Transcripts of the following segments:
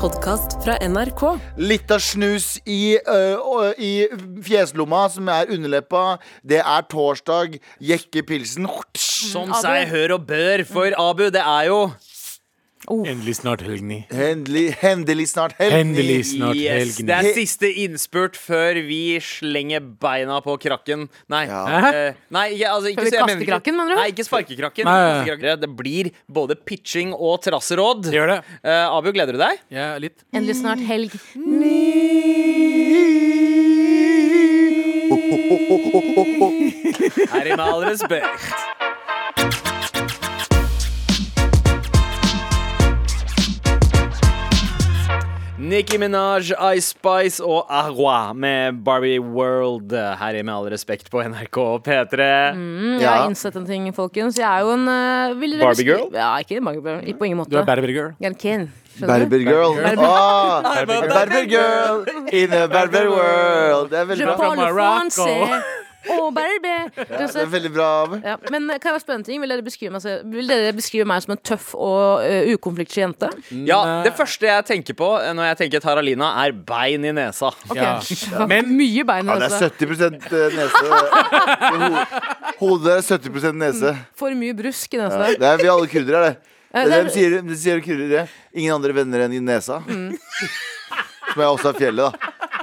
podkast fra NRK. Litt av snus i, øh, og- i fjeslomma, som er underleppa. Det er torsdag. Jekke pilsen. Som Mm, Abu. seg hør og bør for Abu, det er jo Endelig snart helg ni. Hendelig, hendelig snart helg. Hendelig snart Yes, helg det ni. er siste innspurt før vi slenger beina på krakken. Nei. Ja. eh, nei ikke- altså, ikke, Før så vi jeg mener kaster ikke- krakken, mener du? Nei, ikke sparkekrakken. Nei. Ikke kastekrakken. Det blir både pitching og trasseråd. Gjør det. Eh, Abu, gleder du deg? Jeg er litt Endelig snart helg. Her i Med all respekt. Nicki Minaj, Ice Spice og Arroa med Barbie World her i Med all respekt på NRK P3. Jeg har Ja. innsett en ting, folkens. Jeg er jo en eh, vil dere- Barbie girl? Ja, ikke Barbie girl. Ikke på ingen måte. Du er Berber girl. Jeg er en kin. Skjønner du? Berber girl. Berber- Ah, Berber- Berber girl in a Berber world. Det er veldig Je bra. parle Morocco. français. Oh, Barbie. Du Det er ser- veldig bra. Abu. Ja. Men eh, kan jeg bare spørre en ting? Vil dere beskrive meg, se- vil dere beskrive meg som en tøff og eh, ukonfliktsky jente? Ja, Nei. det første jeg tenker på eh, når jeg tenker Taralina, er bein i nesa. Ok. Ja. Men mye bein altså. i Ja, det nesa. er 70 nese. Ho- Hodet er 70 nese. For mye brusk i Ja, nesa. Det er vi alle kurdere, er det. Ja, Det er de det er- sier, de sier kurdere. Ingen andre venner enn i nesa. Mm. Som er også er fjellet, da.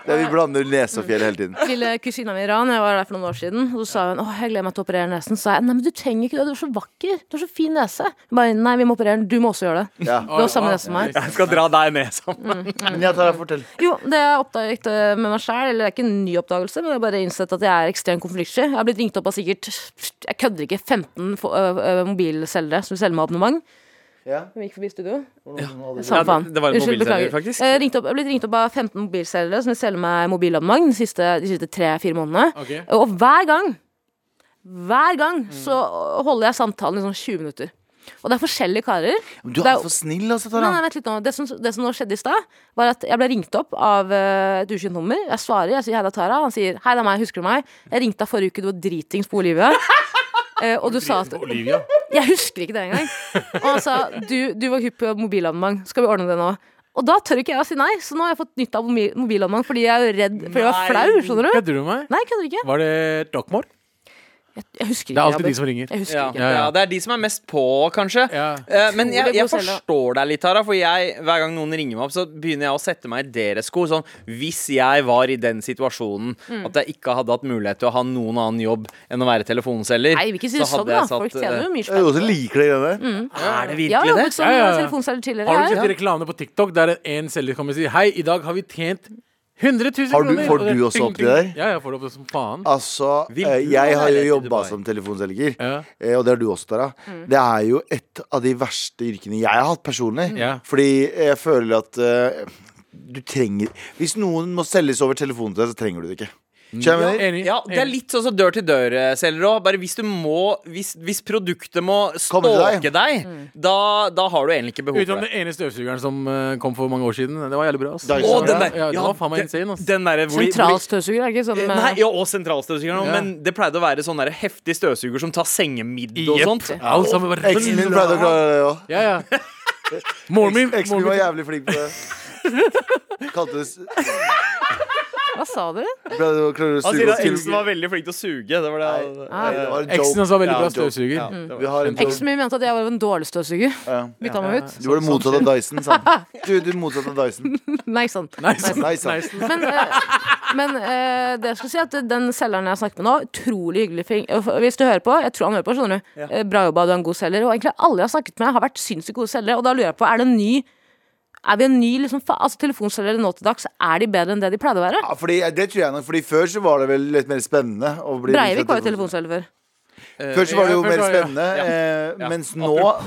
Det er vi blander nese og fjellet hele tiden. Lille kusina mi i Iran, jeg var der for noen år siden, og så sa hun åh, jeg gleder meg til å operere nesen. Så sa jeg nei, men du trenger ikke det, du er så vakker, du har så fin nese. Jeg bare nei, vi må operere den, du må også gjøre det. Ja. Du har samme nese som meg. Jeg skal dra deg med sammen. Men jeg tar deg fortell. Jo, det jeg oppdaget eh, med meg sjæl, eller det er ikke en ny oppdagelse, men jeg har bare innsett at jeg er ekstremt konfliktsky. Jeg har blitt ringt opp av sikkert jeg kødder ikke 15 fo- ø- ø- mobilselgere som selger meg abonnement. Ja. Som gikk forbi studio. Ja, Samme det- faen. det var en Unnskyld, mobilselger, beklager. faktisk. Jeg, ringte opp, jeg har blitt ringt opp av 15 mobilselgere som vil selge meg mobilabonnement de siste, de siste tre-fire månedene. Ok. Og hver gang, hver gang så holder jeg samtalen i sånn 20 minutter. Og det er forskjellige karer. Men Du Det er er- altfor snill, altså, Nei, Tara. nei, vent litt nå. Det som, det som nå skjedde i stad, var at jeg ble ringt opp av eh, et ukjent nummer. Jeg svarer, jeg sier hei, det er Tara. Han sier hei, det er meg, husker du meg? Jeg ringte deg forrige uke, du var dritings på Olivia. Eh, og du sa at Olivia. Jeg husker ikke det engang. Og han sa du, du var hypp på mobilabonnement, skal vi ordne det nå? Og da tør ikke jeg å si nei, så nå har jeg fått nytt av mobi- mobilabonnement fordi jeg er jo redd for jeg var flau, skjønner du? Kødder du med meg? Nei, jeg kødder ikke. Var det Dockmore? Jeg husker ikke. Det er alltid Abu. de som ringer. Jeg husker Ja, ikke. Ja, ja. ja, det er de som er mest på, kanskje. Ja. Eh, Men Utrolig jeg, jeg god selger. forstår deg litt, Tara. For jeg, hver gang noen ringer meg opp, så begynner jeg å sette meg i deres sko. Sånn, hvis jeg var i den situasjonen Mm. at jeg ikke hadde hatt mulighet til å ha noen annen jobb enn å være telefonselger, Nei, vi vil ikke si det så sånn, hadde da. jeg Folk satt tjener eh, jo mye Jeg spenn. også liker de greiene der. Er Mm. det Jeg har virkelig det? jobbet som Ja, ja, ja. telefonselger tidligere. Har du jeg. ikke sett reklame på TikTok der en selger kommer og sier Hei, i dag har vi tjent 100 000 Har du- kroner. får Og det- du også ting, opp til ting. det der? Ja, jeg får det opp som faen. Altså, Vil eh, du jeg ha har jo leilighet i jobba Dubai? som telefonselger, Ja. eh, og det har du også, Tara. Mm. Det er jo et av de verste yrkene jeg har hatt personlig. Mm. Ja. Fordi jeg føler at eh, du trenger Hvis noen må selges over telefonen til deg, så trenger du det ikke. Skjønner du hva jeg mener? Enig. Ja, det er Enig. litt sånn som dør-til-dør-selger òg. Bare hvis du må Hvis, hvis produktet må Komme til stalke deg, Mm. da, da har du egentlig ikke behov Utenom for det. den ene støvsugeren som eh, kom for mange år siden. Det var jævlig bra. ass. Dyson. Å, Å, den der, ja, det var faen meg den- insane, ass. Den derre hvor- Sentral støvsuger, er ikke sånn hvor- med Nei, ja, og sentralstøvsugeren også, Ja. men det pleide å være sånn der heftig støvsuger som tar sengemidd og Jepp. sånt. Alt sammen bare Eksen min pleide å klare det òg. Ja, ja. Moren min, Eksen min moren var min jævlig flink på det. Kalte det s- Hva sa du? pleide å klare å Han suge sier oss at til- eksen var Ah. veldig flink til å suge. Det var det Nei, Ah. det var en Eksen joke. hans var veldig Ja, bra en joke. støvsuger. Ja, det var- Vi har en Eksen joke. min mente at jeg var en dårlig støvsuger. Ja. Bytta meg ut. Du var det motsatte av Dyson, sa han. Du, du er motsatt av Dyson. Nei, sånn. Nei, sånn. Nei, sant. Nice. Men, eh, men eh, det jeg skulle si at den selgeren jeg har snakket med nå, utrolig hyggelig fyr. Og Hvis du hører på, jeg tror han hører på, skjønner du. Eh, Bra jobba, du er en god selger. Og egentlig alle jeg har snakket med, har vært sinnssykt gode selgere. Og da lurer jeg på, er det en ny er vi en ny liksom, fa altså Telefonselgere nå til dags, er de bedre enn det de pleide å være? Ja, fordi, det tror jeg nok, fordi før så var det vel litt mer spennende å bli Breivik var jo telefonselger før. Før så var det jo mer Eh, Ja, først var det- spennende, eh, Ja. mens nå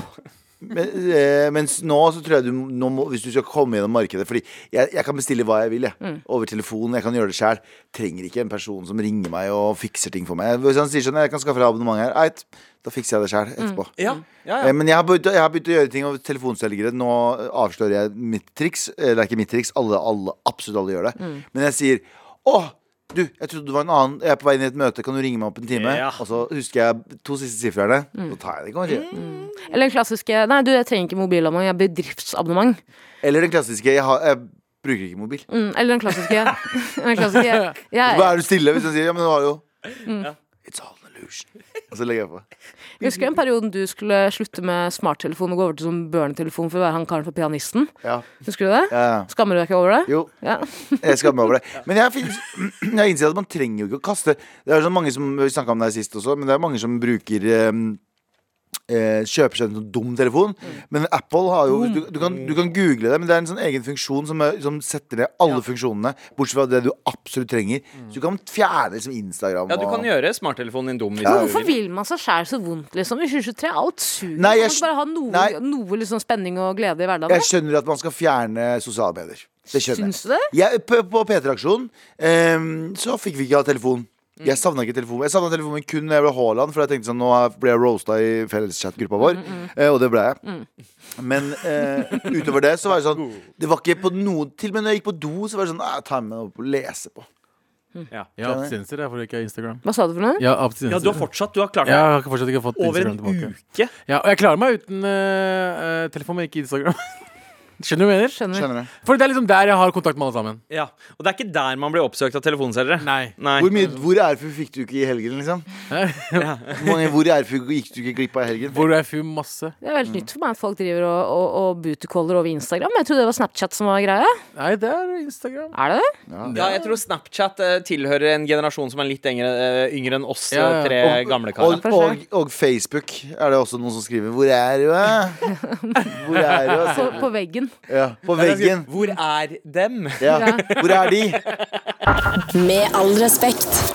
men, eh, mens nå så tror jeg du nå må, Hvis du skal komme gjennom markedet Fordi jeg, jeg kan bestille hva jeg vil jeg, Mm. Over telefonen, jeg kan gjøre det selv Trenger ikke en person som ringer meg og fikser ting for meg Hvis han sier sånn, jeg kan skaffe deg abonnement her Eit, da fikser jeg det selv etterpå Ja, ja, Eh, Men jeg har, begynt, jeg har begynt å gjøre ting over telefonselgere. Nå avslører eh, jeg mitt triks. Eller det er ikke mitt triks, alle, alle, absolutt alle gjør det. Men jeg sier Å, Du, jeg trodde du var en annen. Jeg er på vei inn i et møte, kan du ringe meg opp en time? Ja. Og så husker jeg to siste sifrene. Så tar jeg det, kan man si. Eller den klassiske Nei, du, jeg trenger ikke mobilabonnement, jeg har bedriftsabonnement. Eller den klassiske jeg, har, jeg bruker ikke mobil. Mm, eller den klassiske, den klassiske jeg, Så bare jeg er du stille hvis han sier ja, men du har jo It's all an illusion. Og så legger jeg på. husker den perioden du skulle slutte med smarttelefon og gå over til som børnetelefon for å være han karen for pianisten. Ja. Husker du det? Ja. Skammer du deg ikke over det? Jo, Ja. jeg skammer meg over det. Men jeg, finnes, jeg innser at man trenger jo ikke å kaste. Det er sånn mange som Vi snakket om det her sist også, men det er mange som bruker eh, eh, Kjøper seg en sånn dum telefon. Men Apple har Mm. jo du, du, kan, du kan google det, men det er en sånn egen funksjon som, er- som setter ned alle funksjonene, bortsett fra det du absolutt trenger. Mm. Så du kan fjerne liksom Instagram Ja, du kan og gjøre smarttelefonen din dum. Hvis Men du Hvorfor vil. vil man seg sjæl så vondt, liksom? I 2023, alt suger. Nei, jeg man må bare ha noe, nei. noe liksom spenning og glede i Jeg hverdagen. skjønner at man skal fjerne sosiale medier. Det skjønner Syns du det? Jeg, på på P3-aksjonen ehm, så fikk vi ikke ha telefon. Mm. Jeg savna ikke telefon. Jeg savna telefonen kun når jeg ble Haaland, for jeg tenkte sånn, nå ble jeg roasta i felleschat-gruppa Mm, vår. Eh, og det ble jeg. Men eh, utover det så var det sånn Det var ikke på noe Til og med når jeg gikk på do, så var det sånn «Ah, Ta med opp og lese på. Jeg har abstinenser jeg, fordi jeg ikke har Instagram. Hva sa du for noe? Jeg har abstinenser. Ja, du har fortsatt. Du har klart Jeg det. har ikke- fortsatt ikke fått Over Instagram en tilbake. uke. Ja, og jeg klarer meg uten eh, eh, telefon, men ikke Instagram. Skjønner du hva jeg mener? Skjønner. Skjønner du? For det er liksom der jeg har kontakt med alle sammen. Ja. Og det er ikke der man blir oppsøkt av telefonselgere. Nei. Nei. Hvor, mye, hvor ærfull fikk du ikke i helgen, liksom? Hvor mange, hvor ærfull gikk du ikke glipp av i helgen? Hvor er FU masse? Det er veldig nytt for meg at folk driver og, og, og bootycaller over Instagram. Jeg trodde det var Snapchat som var greia. Nei, det er Instagram. Er det det? Ja, jeg tror Snapchat eh, tilhører en generasjon som er litt yngre, eh, yngre enn oss Ja, ja. eh, tre gamle karer. Og, og, og Facebook er det også noen som skriver. Hvor er du? eh? Hvor er du? På, på veggen. Ja, på veggen. Hvor er dem? Ja. Hvor er de? Med all respekt.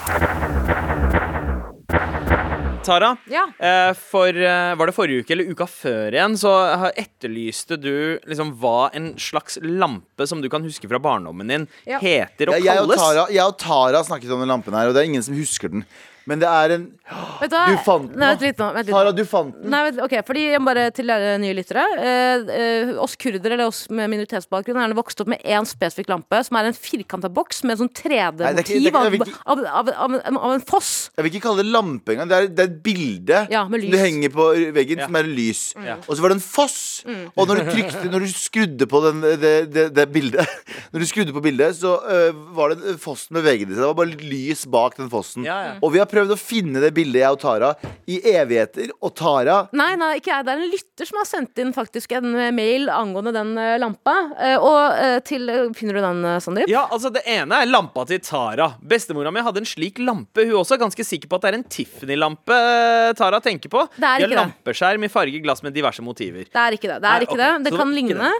Tara, Ja. eh, for, eh, var det forrige uke eller uka før igjen, så har- etterlyste du liksom hva en slags lampe som du kan huske fra barndommen din, Ja. heter og Ja, jeg, og kalles. Tara, jeg og Tara har snakket om den lampen her, og det er ingen som husker den. Men det er en Vet du hva? Du fant den, Nei, da. vent litt nå. Vent litt. Tara, nå. du fant den. Nei, vent, ok, fordi jeg må bare Til dere nye lyttere. Eh, eh, oss kurdere, eller oss med minoritetsbakgrunn, er gjerne vokst opp med én spesifikk lampe, som er en firkanta boks med sånn Nei, det er ikke- det 3D-motiv er av, ikke- av, av, av, en- av en foss. Jeg vil ikke kalle det lampe engang. Det er, det er et bilde Ja, med som lys. du henger på veggen, som er lys. Mm. Og så var det en foss. Mm. Og når du trykte Når du skrudde på den, det, det, det bildet, Når du skrudde på bildet, så øh, var det en foss med veggene sine. Det var bare litt lys bak den fossen. Ja, ja. Og vi har prøvd å finne det bildet, jeg og Tara, i evigheter. Og Tara Nei, nei, ikke jeg. Det er en lytter som har sendt inn faktisk en eh, mail angående den eh, lampa. Eh, og eh, til Finner du den, eh, Sandeep? Ja, altså Det ene er lampa til Tara. Bestemora mi hadde en slik lampe. Hun er også ganske sikker på at det er en Tiffany-lampe eh, Tara tenker på. Det er De har ikke det. lampeskjerm i farget glass med diverse motiver. Det er ikke det. Det er Nei, ikke ok, det. så Det kan var ikke ligne. det. Eh,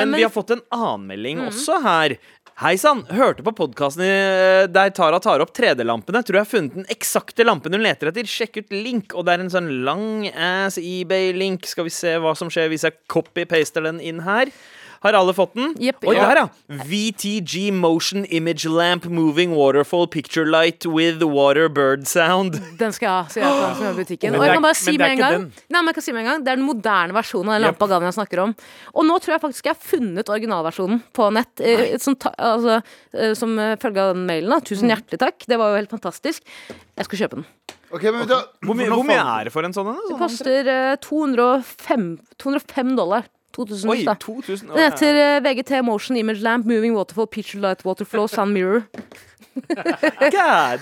Mm. Men, vi har fått en annen melding også her. Hei sann, hørte på podkasten der Tara tar opp 3D-lampene. Tror jeg har funnet den eksakte lampen hun leter etter. Sjekk ut link. Og det er en sånn lang ass eBay-link. Skal vi se hva som skjer hvis jeg copy-paster den inn her. Har alle fått den? Jepp. Oi, Ja. her, ja. VTG Motion Image Lamp Moving Waterfall Picture Light with Water Bird Sound. Den skal jeg ha, sier jeg til han som jobber i butikken. Men Og jeg det er- kan bare si men det er med en ikke gang den. Nei, men jeg kan si med en gang Det er den moderne versjonen av den lampa Galvan jeg snakker om. Og nå tror jeg faktisk jeg har funnet originalversjonen på nett. eh, Som, ta, altså, eh, som eh, følge av den mailen. Da. Mm. Tusen hjertelig takk. Det var jo helt fantastisk. Jeg skal kjøpe den. Ok, men vet du hva? Hvor mye, Hvordan hvor mye fant- er det for en sånn en? Det da? koster eh, 205, 205 dollar. 2000 Oi, da. 2000. Den heter eh, VGT Motion Image Lamp Moving Waterfall Picture Light Waterflow Sun Mirror. God.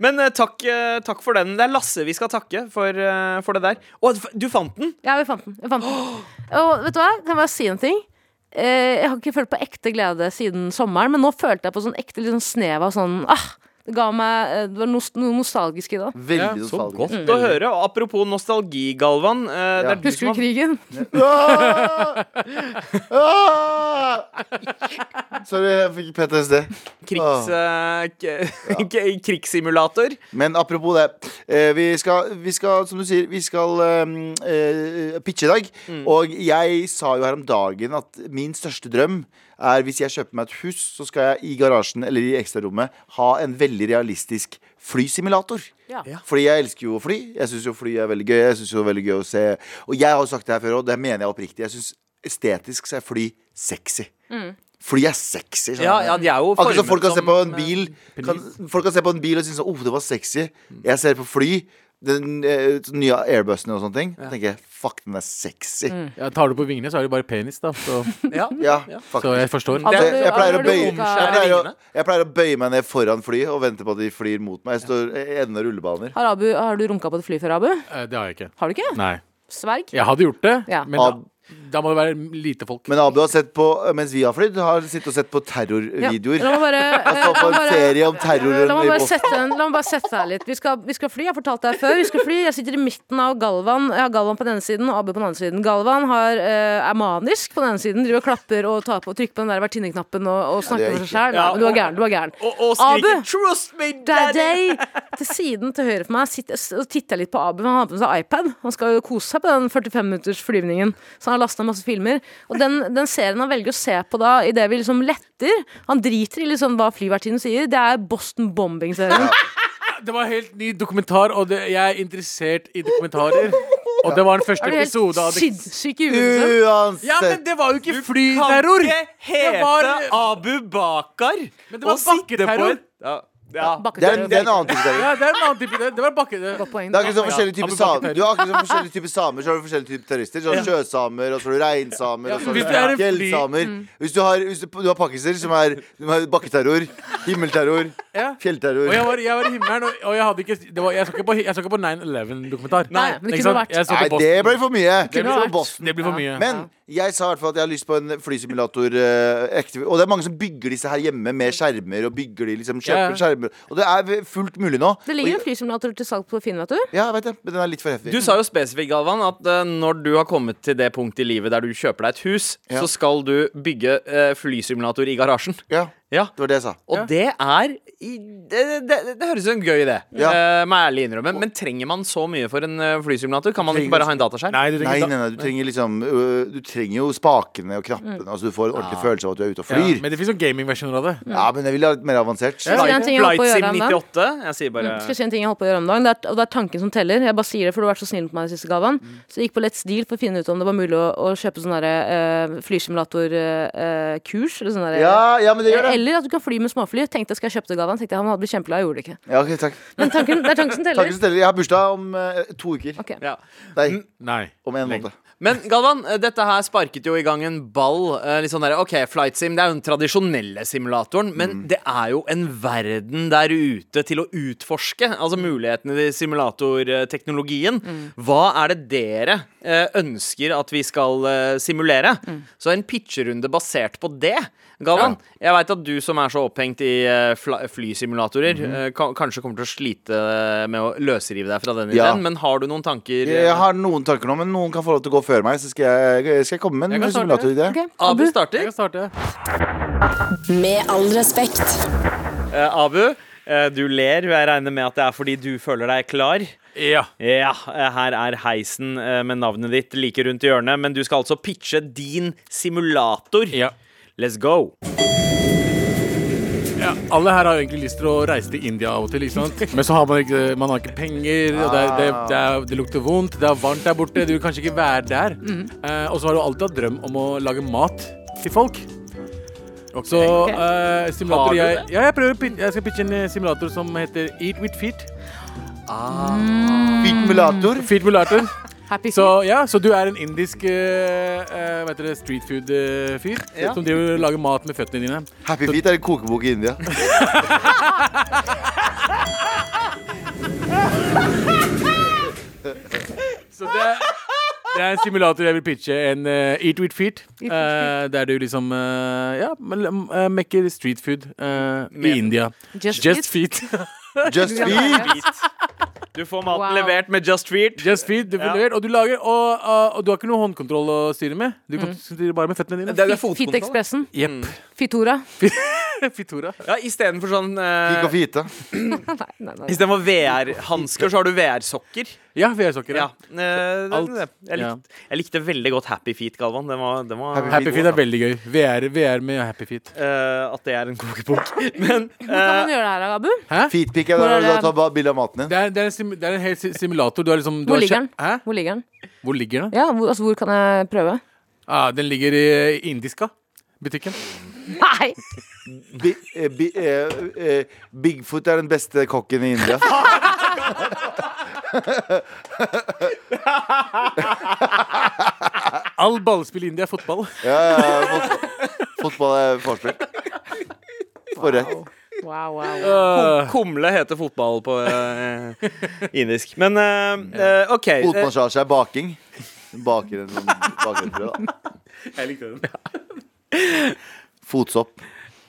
Men eh, takk, eh, takk for den. Det er Lasse vi skal takke for, eh, for det der. Å, du fant den! Ja, vi fant den. Vi fant den. Og vet du hva, kan jeg bare si en ting? Eh, jeg har ikke følt på ekte glede siden sommeren, men nå følte jeg på sånn ekte litt sånn snev av sånn ah, Det ga meg eh, Det var nos noe nostalgisk i det. Ja, Veldig så nostalgisk. Godt å høre. Og apropos nostalgi, Galvan. eh, det Ja. er Mm. du Husker som du krigen? Ah! Ah! Sorry, jeg fikk PTSD. har krigs, eh, k- k- krigssimulator. Men apropos det. eh, Vi skal, vi skal som du sier, vi skal eh, eh, pitche i dag. Og jeg sa jo her om dagen at min største drøm er hvis jeg kjøper meg et hus, så skal jeg i garasjen eller i ekstrarommet ha en veldig realistisk flysimulator. Ja. Ja. Fordi jeg elsker jo å fly. Jeg syns jo fly er veldig gøy. Jeg synes jo det er veldig gøy å se Og jeg har jo sagt det her før, og det mener jeg oppriktig. Jeg syns estetisk så er fly sexy. Fly er sexy. skjønner Ja, du? ja, de er jo Akkurat som formet folk kan se på som, en bil eh, kan, Folk kan se på en bil og synes oh, det var sexy. Jeg ser på fly. Den eh, nye airbusene og sånne ting. Da tenker jeg fuck, den er sexy. Mm. Ja, tar du på vingene, så er det bare penis, da. Så, Ja. Ja, fuck. så jeg forstår. Hadde Det, du- jeg, pleier å hadde du bøye, jeg, orka- pleier å, vingene? jeg pleier å bøye meg ned foran flyet og vente på at de flyr mot meg. Jeg står i enden av rullebaner. Har, Abu, har du runka på et fly før, Abu? Eh, Det har jeg ikke. Har du ikke? Nei. Sverg? Jeg hadde gjort det, Ja. men da, da må det være lite folk. Men Abu har sett på, mens vi har flydd, har sittet og sett på terrorvideoer. La meg bare, Jeg så eh, på la en meg bare- serie om La terroren meg i bare Boston. sette, en- la meg bare sette deg litt. Vi skal, vi skal fly. Jeg har fortalt deg før. Vi skal fly. Jeg sitter i midten av Galvan. Jeg har Galvan på den ene siden og Abu på den andre siden. Galvan har, eh, er manisk på den ene siden. Driver og klapper og tar på, trykker på den der vertinneknappen og, og det er snakker med seg ikke- sjæl. Ja, Du er gæren. Du er gæren. Og, og skriker Abu! 'Trust me, daddy'! Daddy! Til siden til høyre for meg sitter, og titter jeg litt på Abu. for Han har på seg iPad. Han skal jo kose seg på den 45 minutters flyvningen. Så han har lasta masse filmer. Og den, den serien han velger å se på da idet vi liksom letter Han driter i liksom hva flyvertinnen sier. Det er Boston Bombing-serien. Det var helt ny dokumentar, og det, jeg er interessert i dokumentarer. Og det var den første Er du helt episode av det. sinnssyk i huet? liksom? Ja, men Uansett. det var jo ikke Kan flyterror! ikke hete Det var- Abu Bakar Men det var og sitte på bakketerror. et ja. Ja. Det er, det er en Bakketerror. annen type terror. Ja, det er en annen type Det, det var bakke... Det. Godt poeng. Det er akkurat som forskjellige Ja, typer Abu Bakr samer. Du har akkurat som forskjellige typer samer, så har du forskjellige typer terrorister. Så har du sjøsamer, og så har du reinsamer, og så hvis du har er en du fly- Mm. fjellsamer. Hvis du har, hvis du, du har pakkiser, som er, som er bakketerror, himmelterror, Ja. fjellterror Og jeg var, jeg var i himmelen, og, og jeg hadde ikke det var, Jeg så ikke på, jeg så ikke på 9-11-dokumentar. Nei, men Ikke det kunne sant? vært- Jeg så Nei, på det Boston. ble for mye. Det kunne var vært. Boston. Det blir for mye. Men jeg sa i hvert fall at jeg har lyst på en flysimulator. eh, ekte- og det er mange som bygger disse her hjemme med skjermer. Og bygger de liksom, kjøper Ja, ja. skjermer Og det er fullt mulig nå. Det ligger en flysimulator til salg på Finn, vet du. Ja, jeg vet det, men den er litt for heftig. Du sa jo spesifikt, Galvan, at eh, når du har kommet til det punktet i livet der du kjøper deg et hus, Ja. så skal du bygge eh, flysimulator i garasjen. Ja, Ja. det var det jeg sa. Og det er i, det, det, det høres ut som en gøy idé, Ja. eh, må jeg ærlig innrømme. Men trenger man så mye for en eh, flysimulator? Kan man ikke bare ha en dataskjerm? Nei, du trenger Nei, ikke nei, nei, du trenger liksom ø, Du trenger jo spakene Mm. og knappene. Altså Du får en ordentlig følelse av at du er ute og ta- ja, flyr. Ja, Men det fins sånn gamingversjoner av det. men jeg vil ha litt mer avansert. Skal jeg si en ting jeg holdt på å Flight gjøre Sim om dagen? 98? Jeg sier bare Skal jeg si en ting jeg holdt på å gjøre om dagen? Det er, og det er tanken som teller. Jeg bare sier det, for du har vært så snill på meg den siste gaven. Så jeg gikk på Let's Deal for å finne ut om det var mulig å, å kjøpe sånn derre flysimulator-kurs. eller sånn derre- Ja, ja, men det gjør det. eller at du kan fly med småfly. Tenkte jeg skal jeg kjøpe det gaven. Tenkte jeg han hadde blitt kjempeglad, jeg gjorde det ikke. Ja, ok, takk. Men tanken, det er tanken som Takk teller. for Jeg har bursdag om ø, to uker. Ok. ja. Nei, Nei. om en måned. Men Galvan, eh, dette her sparket jo i gang en ball. eh, Litt sånn der, ok, Flight Sim det er jo den tradisjonelle simulatoren, men Mm. det er jo en verden der ute til å utforske. Altså Mm. mulighetene i simulatorteknologien. Hva er det dere eh, ønsker at vi skal eh, simulere? Mm. Så en pitcherunde basert på det. Galvan, jeg veit at du som er så opphengt i eh, fla- flysimulatorer, Mm. eh, ka- kanskje kommer til å slite med å løsrive deg fra den Ja. ideen, men har du noen tanker? Jeg har noen tanker nå, men noen kan få lov til å gå før meg. Så skal jeg, skal jeg komme med Jeg en kan starte. simulatoridé. Ok, Abu Abu, eh, starter. Jeg kan starte. Med all respekt. Eh, Abu, eh, du ler. og Jeg regner med at det er fordi du føler deg klar. Ja. Ja, eh, her er heisen eh, med navnet ditt like rundt hjørnet, men du skal altså pitche din simulator. ja. Let's go. Ja, alle her har jo egentlig lyst til å reise til India av og til, ikke sant? men så har man ikke, man har ikke penger, og det, er- det, Ah. det, er, det lukter vondt, det er varmt der borte, du vil kanskje ikke være der. Mhm. Eh, og så har du alltid hatt drøm om å lage mat til folk. Så eh, Har du simulator jeg, det? ja, jeg, prøver, å pin- jeg skal pitche en eh, simulator som heter Eat with feet. Bitmulator. Feet Mulator. happy Så ja, så du er en indisk eh, eh, hva heter det, street food-fyr Ja. som driver og lager mat med føttene dine. Happy Feet er en kokebok i India. Så det er, det er en simulator jeg vil pitche. En eh, Eat With Feet. eh, der du liksom eh, Ja, men, eh, mekker street food eh, i Med- India. Just, Just feet. feet. Just Feet. Du får maten Wow. levert med Just Feet. Just feet, du får Ja. levert, og du lager og, eh, og du har ikke noe håndkontroll å styre med. Du kan styre bare med føttene dine. Fittekspressen. Jepp. Fitora. Fitora. Mm. Ja, Istedenfor sånn Fikk uh, og fite. Nei, nei, nei. Istedenfor VR-hansker, så har du VR-sokker. Ja, VR-sokker. Ja. Ja. eh, det- Alt. det- Jeg, Ja. likte, jeg likte veldig godt Happy Feet, Galvan. Det var, det var Happy feet er veldig gøy. VR, VR med happy feet. eh, At det er en kokebok. Men Hvordan kan eh, man gjøre det her, Abu? Feetpick er Hvor der er du det? tar bare bilde av maten din. Det er, det, er en sim, det er en hel si- simulator. Du har liksom du Hvor har ligger kjø- den? Hæ? Hvor ligger den? Hvor ligger den? Ja, hvor, altså, hvor kan jeg prøve? Ah, den ligger i indiska butikken. Nei! Bi, eh, bi, eh, eh, Bigfoot er den beste kokken i India. All ballspill i India er fotball. Ja, ja, ja, fotball, fotball er forspill. Forrett. Wow, wow, wow. Øh, Kumle heter fotball på eh, indisk. Men eh, eh, OK. eh, Fotmassasje er baking. Baker en sånn bakerbrød. da. jeg likte den. Fotsopp.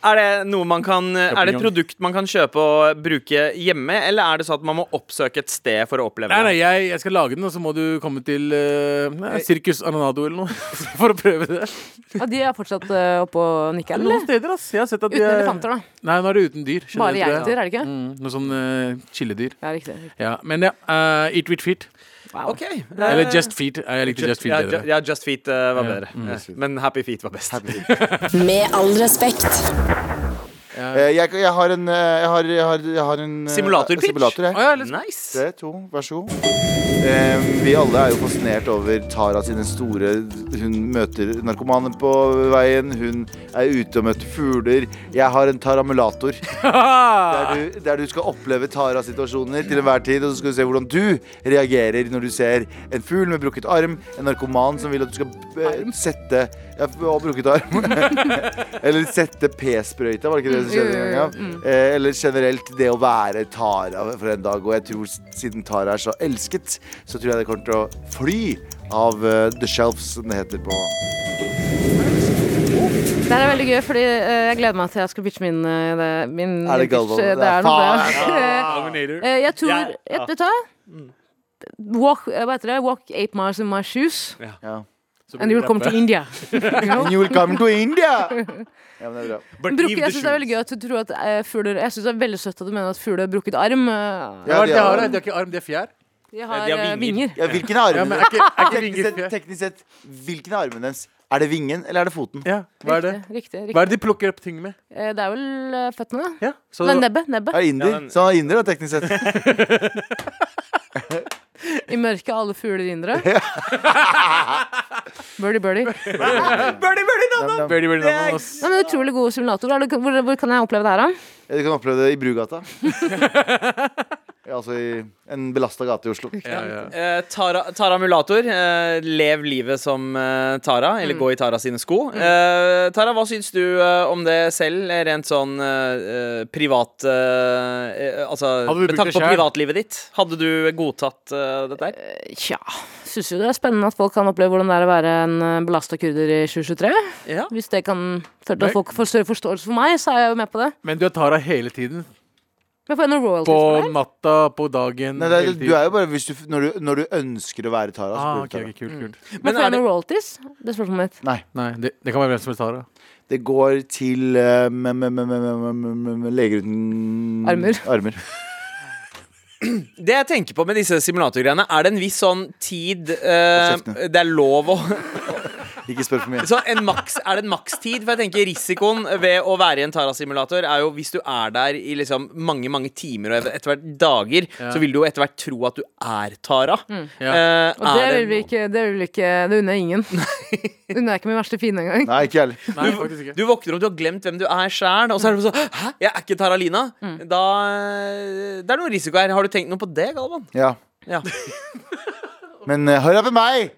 Er det, noe man kan, eh, er det et Champignon. produkt man kan kjøpe og bruke hjemme, eller er det sånn at man må oppsøke et sted for å oppleve Nei, nei, det? jeg, jeg skal lage den, og så må du komme til eh, nei, Circus Aranado eller noe for å prøve det. Ja, de er fortsatt eh, oppe og nikker, Noen eller? steder, ass. Jeg har sett at de Uten er- elefanter, da. Nei, nå er det uten dyr. Bare generelt, tror jeg. geiter, er det ikke? Mm, noe sånn eh, chilledyr. Ja, riktig. riktig. Ja, men ja. eh, eat with feet. Wow. Ok. Eller just feet. Eh, Jeg likte just feet ja, bedre. Mm. ju- ja, Just Feet eh, var bedre. Eh, Men Happy Feet var best. Med all respekt. Eh, Jeg, jeg har en eh, Jeg har, jeg har, jeg har en eh, Simulator-pitch? Simulator, jeg. Å ja, let's- Nice. Tre, to, vær så god. Eh, vi alle er jo fascinert over Tara sine store Hun møter narkomane på veien. Hun er ute og møter fugler. Jeg har en taramulator. Der du, der du skal oppleve Taras situasjoner til enhver tid, og så skal du se hvordan du reagerer når du ser en fugl med brukket arm, en narkoman som vil at du skal eh, sette ja, f- og brukket arm. eller sette p-sprøyta, var det ikke det som skjedde? en Mm, gang? Eh, eller generelt det å være Tara for en dag. Og jeg tror s- siden Tara er så elsket, så tror jeg det kommer til å fly av eh, The Shelves, som det heter på Det her er veldig gøy, fordi eh, jeg gleder meg til jeg skal pitche min, eh, det, min Er det Galvan? pitch, eh, Det Det er er noe faen, bra. Dominator. Eh, jeg tror Ja, jeg, ja. Vet du hva? Walk, eh, hva heter det? Walk eight miles in my shoes, ja. and you'll come to India. And you will come to India! Ja, men det er bra. But Brukke, give the jeg synes det er shoes. veldig gøy at du tror at eh, fugler Jeg synes det er veldig søtt at du mener at fugler har brukket arm. eh, Ja, Hva er det de har, de har- da? de har ikke arm, de har fjær. De har, de har eh, vinger. vinger. Ja, hvilken arm Ja, men er ikke, er ikke Teknisk vinger sett, fjær? teknisk sett, hvilken av armene deres? Er det vingen eller er det foten? Ja, hva er det? Riktig, riktig, riktig. Hva er det de plukker opp ting med? Eh, det er vel eh, føttene, da. Ja, så Men nebbet. nebbet. Er det inder? Ja, men- Så han er inder, da, teknisk sett. I mørket er alle fugler indre. birdie, birdie. Nei, Birdie, birdie, no, no. Nam, nam. Very, very nice. men Utrolig gode simulatorer. Er det- Hvor, hvor kan jeg oppleve det her, da? Ja, Du kan oppleve det i Brugata. Ja, altså i en belasta gate i Oslo. Ja, ja. Eh, Tara, Tara Mulator, eh, lev livet som eh, Tara, Mm. eller gå i Tara sine sko. Eh, Tara, hva syns du eh, om det selv, eh, rent sånn eh, eh, privat eh, eh, Altså Hadde du med brukt tanke på det selv? privatlivet ditt. Hadde du godtatt eh, dette her? Tja, syns jo det er spennende at folk kan oppleve hvordan det er å være en belasta kurder i 2023. Eh, Ja. Hvis det kan føre til Nei. at folk får større forståelse for meg, så er jeg jo med på det. Men du er Tara hele tiden. Men får jeg noen royalties På for det? natta, på dagen. Nei, det er, hele du tiden. er jo bare hvis du, når, du, når du ønsker å være Tara, så ah, blir du ok, Tara. ok, kult, kult. her? Men Men får jeg er det, noen royalties? Det er spørsmålet mitt. Nei. Nei, det, det kan være hvem som helst Tara. Det går til eh, me- me- me- me- me- me- me- me- leger uten Armer. det jeg tenker på med disse simulatorgreiene, er det en viss sånn tid eh, Og kjeftene. Det er lov å Ikke spør for mye. Så en maks, er det en makstid? For jeg tenker risikoen ved å være i en Tara-simulator er jo hvis du er der i liksom mange mange timer og etter hvert dager, Ja. så vil du jo etter hvert tro at du er Tara. Ja. Eh, Mm. Og det er vil vi ikke Det, vil vi ikke, det unner jeg ingen. Det unner jeg ikke min verste fiende engang. Nei, ikke jeg heller. Nei, faktisk ikke. Du våkner opp, du har glemt hvem du er sjæl, og så er du sånn Hæ, jeg er ikke Tara-Lina? Mm. Da eh, Det er noe risiko her. Har du tenkt noe på det, Galvan? Ja. Ja. Men eh, hurry up and buy!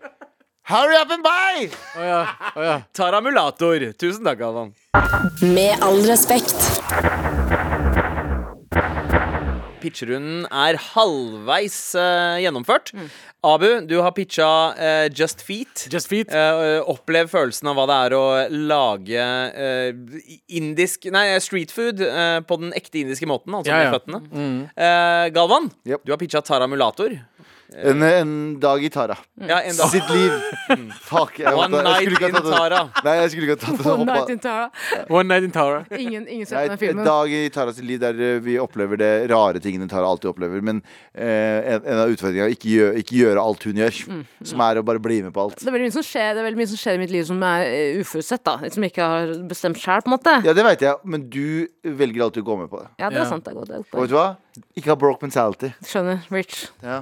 Hurry up and buy! Å ja, å ja. Tara-mulator. Tusen takk, Galvan. Med all respekt. Pitcherunden er halvveis eh, gjennomført. Mm. Abu, du har pitcha eh, Just Feet. Just feet. Eh, opplev følelsen av hva det er å lage eh, indisk Nei, street food eh, på den ekte indiske måten, altså Ja, ja. med føttene. Mm. Eh, Galvan, Yep. du har pitcha taramulator. En, eh, en dag i Tara. Mm. Ja, en dag. Sitt liv. Mm. Fuck. Jeg, One måtte- jeg night skulle ikke in ha tatt det. Tara. Nei, jeg skulle ikke ha tatt det One opp night av in Tara. Eh. One night in Tara. Ingen, Nei, ingen sett den en filmen. dag i Taras liv der eh, vi opplever det rare tingene Tara alltid opplever. Men eh, en, en av utfordringene er ikke, gjø ikke gjøre alt hun gjør, Mm. som er å bare bli med på alt. Det er, veldig mye som skjer, det er veldig mye som skjer i mitt liv som er eh, uforutsett, da. Som jeg ikke har bestemt sjæl, på en måte. Ja, det veit jeg, men du velger alltid å gå med på det. Ja, det Ja. er sant. Det er godt. Det er Og godt. vet du hva? Ikke ha broke mentality. Skjønner. Rich. Ja.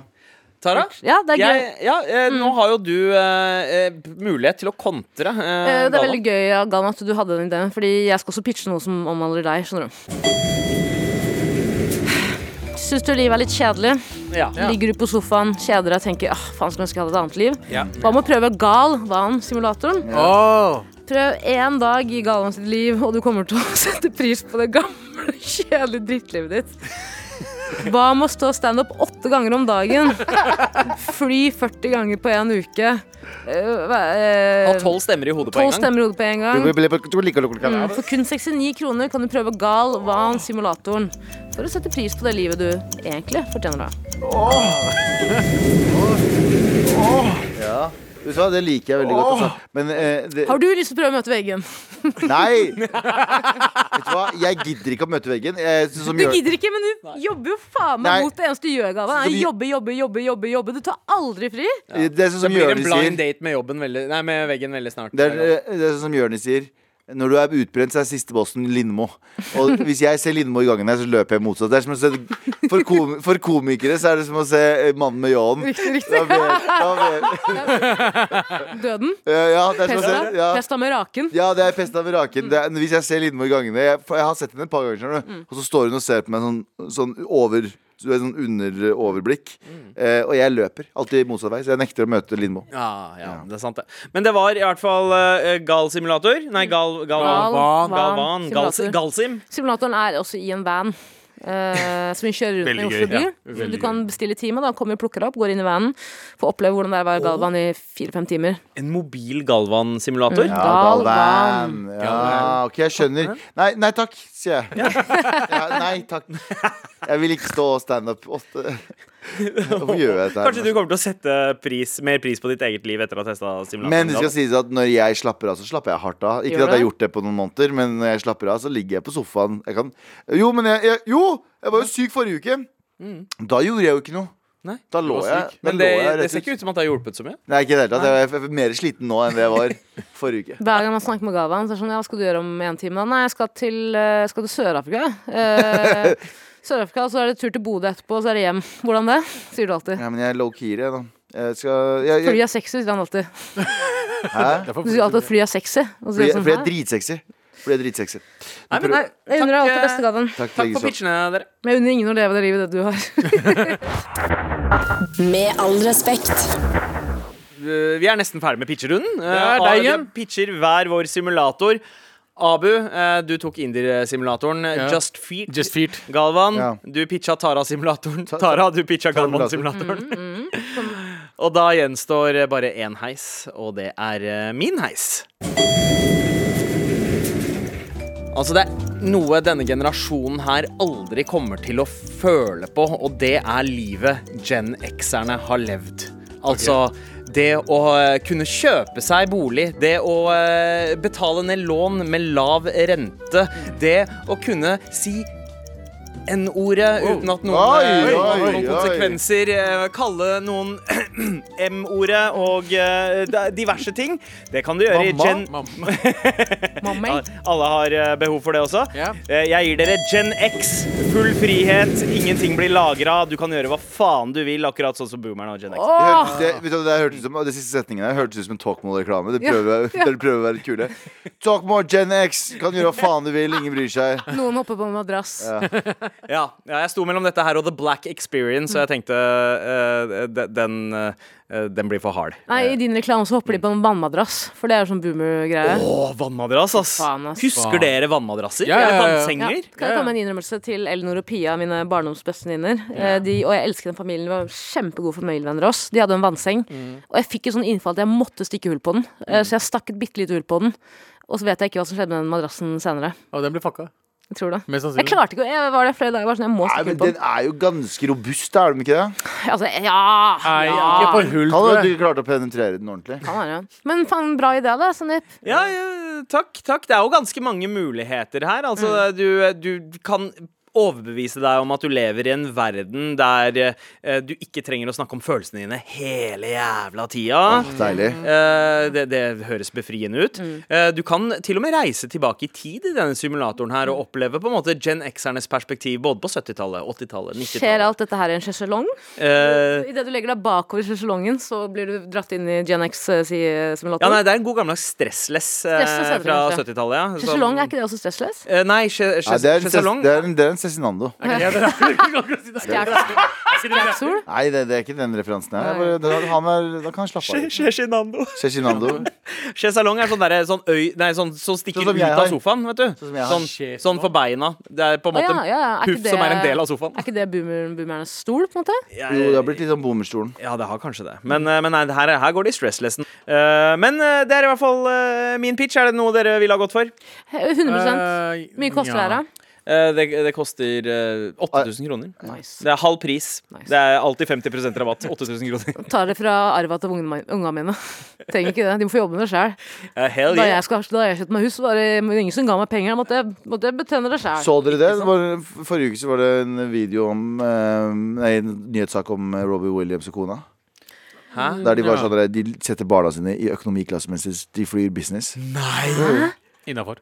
Tara? Ja, det er gøy. Mm. Jeg, ja, eh, Nå har jo du eh, eh, mulighet til å kontre. eh, Eh, Det er Galvan. veldig gøy ja, Gan, at du hadde den ideen, Fordi jeg skal også pitche noe som omhandler deg. Skjønner du Syns du livet er litt kjedelig? Ja. Ligger du på sofaen, kjeder deg, tenker Åh, faen skulle ønske jeg hadde et annet liv. Ja. Hva med å prøve Gal-Van-simulatoren? Åh, Prøv én dag i Galvan sitt liv, og du kommer til å sette pris på det gamle, kjedelige drittlivet ditt. Hva med å stå standup åtte ganger om dagen? Fly 40 ganger på én uke? Eh, hva- eh, Ha tolv stemmer i hodet på Tolv en gang. stemmer i hodet på en gang. Mm, Mm. For kun 69 kroner kan du prøve Gal Van-simulatoren for å sette pris på det livet du egentlig fortjener. Da. Ja. Vet du hva, det liker jeg veldig godt. Altså. Men eh, det, Har du lyst til å prøve å møte veggen? Nei! Vet du hva, jeg gidder ikke å møte veggen. Jeg, synes som Du gjør- gidder ikke, men du jobber jo faen meg Nei. mot det eneste du gjør, Galvan. Så Er vi- Jobbe, jobbe, jobbe, jobbe. jobbe Du tar aldri fri. Det er sånn Det som blir en Jørnis sier. blind date med, jobben veldig, nei, med veggen veldig snart. Det er, eh, det er sånn som Jørnis sier. Når du er utbrent, så er siste bossen Lindmo. Og hvis jeg ser Lindmo i gangen her, så løper jeg motsatt. Det er som å se, for, kom, for komikere så er det som å se eh, mannen med ljåen. Riktig, riktig. Da blir- da blir- Døden. Eh, Ja, det er som å Pesta. se ja. Pesta Mm. med raken. Ja, det er pesta ved raken. Det er, hvis jeg ser Lindmo i gangene jeg, for jeg har sett henne et par ganger, skjønner Mm. du. Og så står hun og ser på meg sånn, sånn over så det er Sånn under overblikk. Mm. Eh, og jeg løper alltid motsatt vei, så jeg nekter å møte Lindmo. Ja, ja, det er sant, det. Men det var i hvert fall eh, gal simulator. Nei, gal... gal, Gal- Galvan, Galvan. Gal, simulator. galsim. Simulatoren er også i en van. eh, som vi kjører rundt med i Veldig Oslo gøy, by. ja. Så Veldig du kan bestille time, da kommer og plukker deg opp, går inn i vanen. Får oppleve hvordan det er å være Galvan i fire-fem timer. En mobil Galvan-simulator. Mm. Gal Galvan. van. Ja, OK, jeg skjønner. Nei, nei takk, sier jeg. Ja, nei takk. Jeg vil ikke stå standup åtte Hvorfor gjør jeg dette? Kanskje du her? kommer til å sette pris, mer pris på ditt eget liv etter å ha testa simulatoren. Men det skal sies at når jeg slapper av, så slapper jeg hardt av. Ikke at Gjør jeg har du? gjort det på noen måneder, men når jeg slapper av, så ligger jeg på sofaen. Jeg kan Jo, men jeg, jeg Jo! Jeg var jo syk forrige uke. Mm. Da gjorde jeg jo ikke noe. Nei, da lå var jeg. syk. da Men det, lå jeg det rett ser ikke ut som at det har hjulpet så mye. Nei, ikke i det hele tatt. Jeg er mer sliten nå enn det jeg var forrige uke. Hver gang man snakker med Gavan, så er det sånn Ja, hva skal du gjøre om en time? Da? Nei, jeg skal til, eh, skal til Sør-Afrika. Eh, Sør-Afrika, og så er det tur til Bodø etterpå, og så er det hjem. Hvordan det? Sier du alltid. Ja, men jeg er low-key, jeg, da. Jeg skal jeg, Fordi jeg, jeg er sexy, sier han alltid. Hæ? det er for- Du sier alltid at fly er sexy. Og så Fordi, sier fordi jeg jeg er sånn, hæ? dritsexy. Fordi jeg er dritsexy. Nei, men, nei, Jeg unner deg alt det eh, beste, Gavan. Takk, Takk Legesand. for pitchene, dere. Men jeg unner ingen å leve det livet det du har. Med all respekt. Eh, Vi er nesten ferdig med pitcherunden. Eh, er deg Ar- vi igjen. Pitcher hver vår simulator. Abu, eh, du tok Indier-simulatoren. Ja. Just Feet. Just feet. Galvan, Ja. du pitcha Tara-simulatoren. Tara, du pitcha Galvan-simulatoren. Og da gjenstår eh, bare én heis, og det er eh, min heis. Altså Det er noe denne generasjonen her aldri kommer til å føle på, og det er livet Gen X-erne har levd. Altså det å eh, kunne kjøpe seg bolig, det å eh, betale ned lån med lav rente, det å kunne si N-ordet uten at noen Oi, eh, oi, har noen oi. konsekvenser, eh, kalle noen M-ordet og eh, diverse ting. Det kan du gjøre i Gen Mamma. Mamma. ja, Alle har eh, behov for det også. Ja. Eh, Jeg gir dere Gen X. Full frihet. Ingenting blir lagra. Du kan gjøre hva faen du vil, akkurat sånn som boomerne og Gen X. Det hørtes, det, vet du, hva det, hørtes ut som, det siste setningen her hørtes ut som en Talkmore-reklame. Dere prøver, dere prøver å være kule. Talkmore Gen X kan gjøre hva faen du vil, ingen bryr seg. Noen hopper på en madrass. Ja, ja, jeg sto mellom dette her og The Black Experience, og jeg tenkte eh, de- den, eh, den blir for hard. Nei, i din reklame så hopper de på en vannmadrass, for det er jo sånn boomer-greie. Å, vannmadrass, ass. Faen, ass. Husker Faen. dere vannmadrasser? Ja, ja, ja, ja. Eller Ja, vannsenger? kan jeg komme med en innrømmelse til Elinor og Pia, mine barndomsbestevenninner? Eh, de- Og jeg elsker den familien. De var kjempegode familievenner av oss. De hadde en vannseng. Og jeg fikk et sånn innfall at jeg måtte stikke hull på den. Eh, Så jeg stakk et bitte lite hull på den. Og så vet jeg ikke hva som skjedde med den madrassen senere. Og den ble fucka. Jeg tror det. Mest Jeg sannsynlig. klarte ikke å- Jeg var der flere dager. Jeg var sånn, jeg må Nei, stikke hull men på den. Den er jo ganske robust, er den ikke det? Altså, ja! Nei, ja. ikke for Han hull, tror hadde jeg. ikke klart å penetrere den ordentlig. Faen, er det. Men faen, bra idé, da, Sandeep. Ja, Mm. ja, takk, takk. Det er jo ganske mange muligheter her. Altså, du, du kan overbevise deg om at du lever i en verden der eh, du ikke trenger å snakke om følelsene dine hele jævla tida. Deilig. Eh, det, det høres befriende ut. Mm. Eh, du kan til og med reise tilbake i tid i denne simulatoren her Mm. og oppleve på en måte Gen X-ernes perspektiv både på 70-tallet, 80-tallet, Skjer 90-tallet. alt dette her i en sjeselong? Eh, Idet du legger deg bakover sjeselongen, så blir du dratt inn i Gen X eh, si, ja, simulator? nei, det sånn- er en god gammeldags stressless eh, Stressless heter det fra kanskje. 70-tallet. Ja. Som- Sjeselong, er ikke det også stressless? Eh, nei, sje- Nei, sje- det er en ses- sjeselong. det er en- det er en Cezinando. Stjert- Stjertsol? Nei, det, det er ikke den referansen her. Jeg bare- Da, han er, da kan han slappe av. litt. Sjeselong. Cezinando. Sjesalong er sånn, derre- sånn øy Nei, sånn som stikker Sånn som ut jeg har. av sofaen, vet du. som jeg har. Sånn, sånn for beina. Det er på en Å, måte ja, ja, ja. Er ikke puff som er en det- del av sofaen. Er ikke det boomer, boomernes stol, på en måte? Jo, det har blitt litt sånn boomerstolen. Ja, det har kanskje det. Men, eh, men nei, det her, er- her går det i stresslessen. Eh, men eh, det er i hvert fall eh, min pitch. Er det noe dere ville ha gått for? He- 100 Mye koster det her, da? Eh, det, det koster eh, 8000 kroner. Nice. Det er halv pris. Nice. Det er alltid 50 rabatt. 8000 kroner. Tar det fra arva til ungene unga mine. Trenger ikke det, de må få jobbe med det sjøl. Eh, hell Da yeah. jeg, skal- da jeg kjøpte meg hus, var det ingen som ga meg penger. Da måtte jeg, måtte jeg betjene det sjøl. Så dere det? det var, forrige uke så var det en video om eh, Nei, en nyhetssak om eh, Robbie Williams og kona. Hæ? Der de var sånn der, De setter barna sine i økonomiklasse mens de flyr business. Innafor.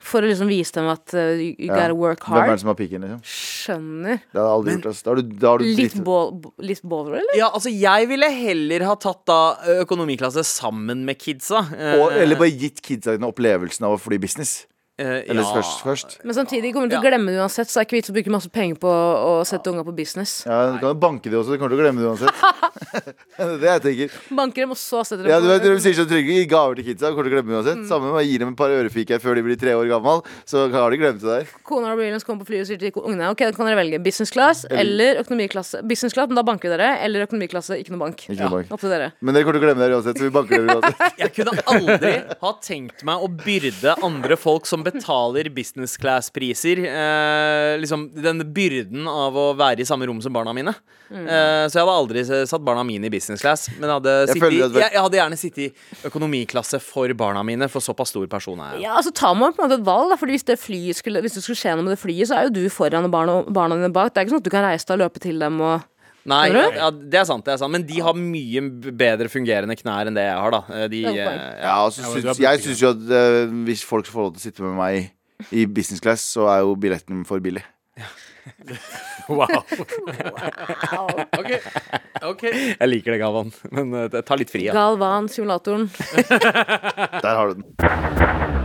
For å liksom vise dem at uh, you you Ja. gotta work Hvem er det hard. som har pikken, liksom? Skjønner. Det har jeg aldri gjort. ass. Da har du, da har du Litt dritt- ball- litt baller, eller? Ja, altså, jeg ville heller ha tatt da økonomiklasse sammen med kidsa. Eh, og, eller bare gitt kidsa dine opplevelsen av å fly business. eh, Eller ja. først, først. Men samtidig kommer du til å Ja. glemme det uansett, så det er ikke vits å bruke masse penger på å sette unga på business. Ja, du kan jo banke det også, du kommer til å glemme det uansett. det er det jeg tenker. Banker dem, og så setter dem Ja, du på vet, de sier sånn Trygve, gi gaver til kidsa, du kommer til å glemme det Mm. uansett. Sammen med å gi dem et par ørefiker før de blir tre år gammel, så har de glemt det der. Kona og Williams kommer på flyet og sier til ungene Ok, da kan dere velge business class eller økonomiklasse. Business class, men da banker vi dere. Eller økonomiklasse, ikke noe bank. Ikke noe bank. Opp til dere. Men dere kommer til å glemme det her uansett, så vi banker dere uansett. Jeg kunne aldri ha tenkt meg å byrde andre folk som betaler business class-priser. Eh, liksom den byrden av å være i samme rom som barna mine. Mm. Eh, så jeg hadde aldri s- satt barna mine i business class. Men hadde Jeg sittet, føler jeg, at vel- jeg, hadde gjerne sittet i økonomiklasse for barna mine, for såpass stor person er jeg. Ja, altså ta med på en måte et valg, da, fordi hvis det, flyet skulle, hvis det skulle skje noe med det flyet, så er jo du foran og barna, barna dine bak. Det er ikke sånn at du kan reise deg og løpe til dem og Nei, ja, Skjønner du? det er sant, det er sant. Men de har mye b- bedre fungerende knær enn det jeg har, da. Eh, De, Det er et eh, poeng. Ja, og så men du syns- er jeg syns jo at eh, hvis folk får lov til å sitte med meg i business class, så er jo billetten for billig. Wow. Ok. ok jeg liker det, Galvan. Men eh, det- ta litt fri, ja. Galvan-simulatoren. Der har du den.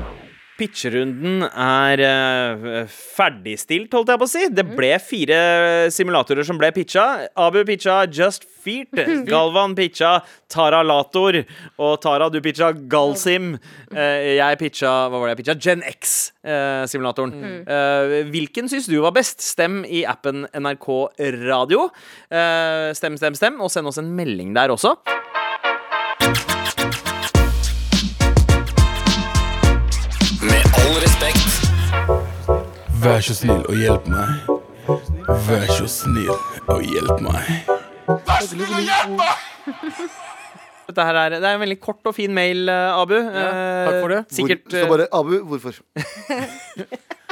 Pitcherunden er eh, ferdigstilt, holdt jeg på å si. Det ble fire simulatorer som ble pitcha. Abu pitcha Just Feet. Galvan pitcha Tara Lator. Og Tara, du pitcha Galsim. Eh, jeg pitcha hva var det jeg pitcha? Gen X-simulatoren. Eh, hvilken syns du var best? Stem i appen NRK Radio. Eh, stem, stem, stem. Og send oss en melding der også. Med all respekt. Vær så snill og hjelp meg. Vær så snill og hjelp meg. Dette her er, det er en veldig kort og fin mail, eh, Abu. takk for det. Eh, Sikkert Hvor, så bare, Abu, hvorfor?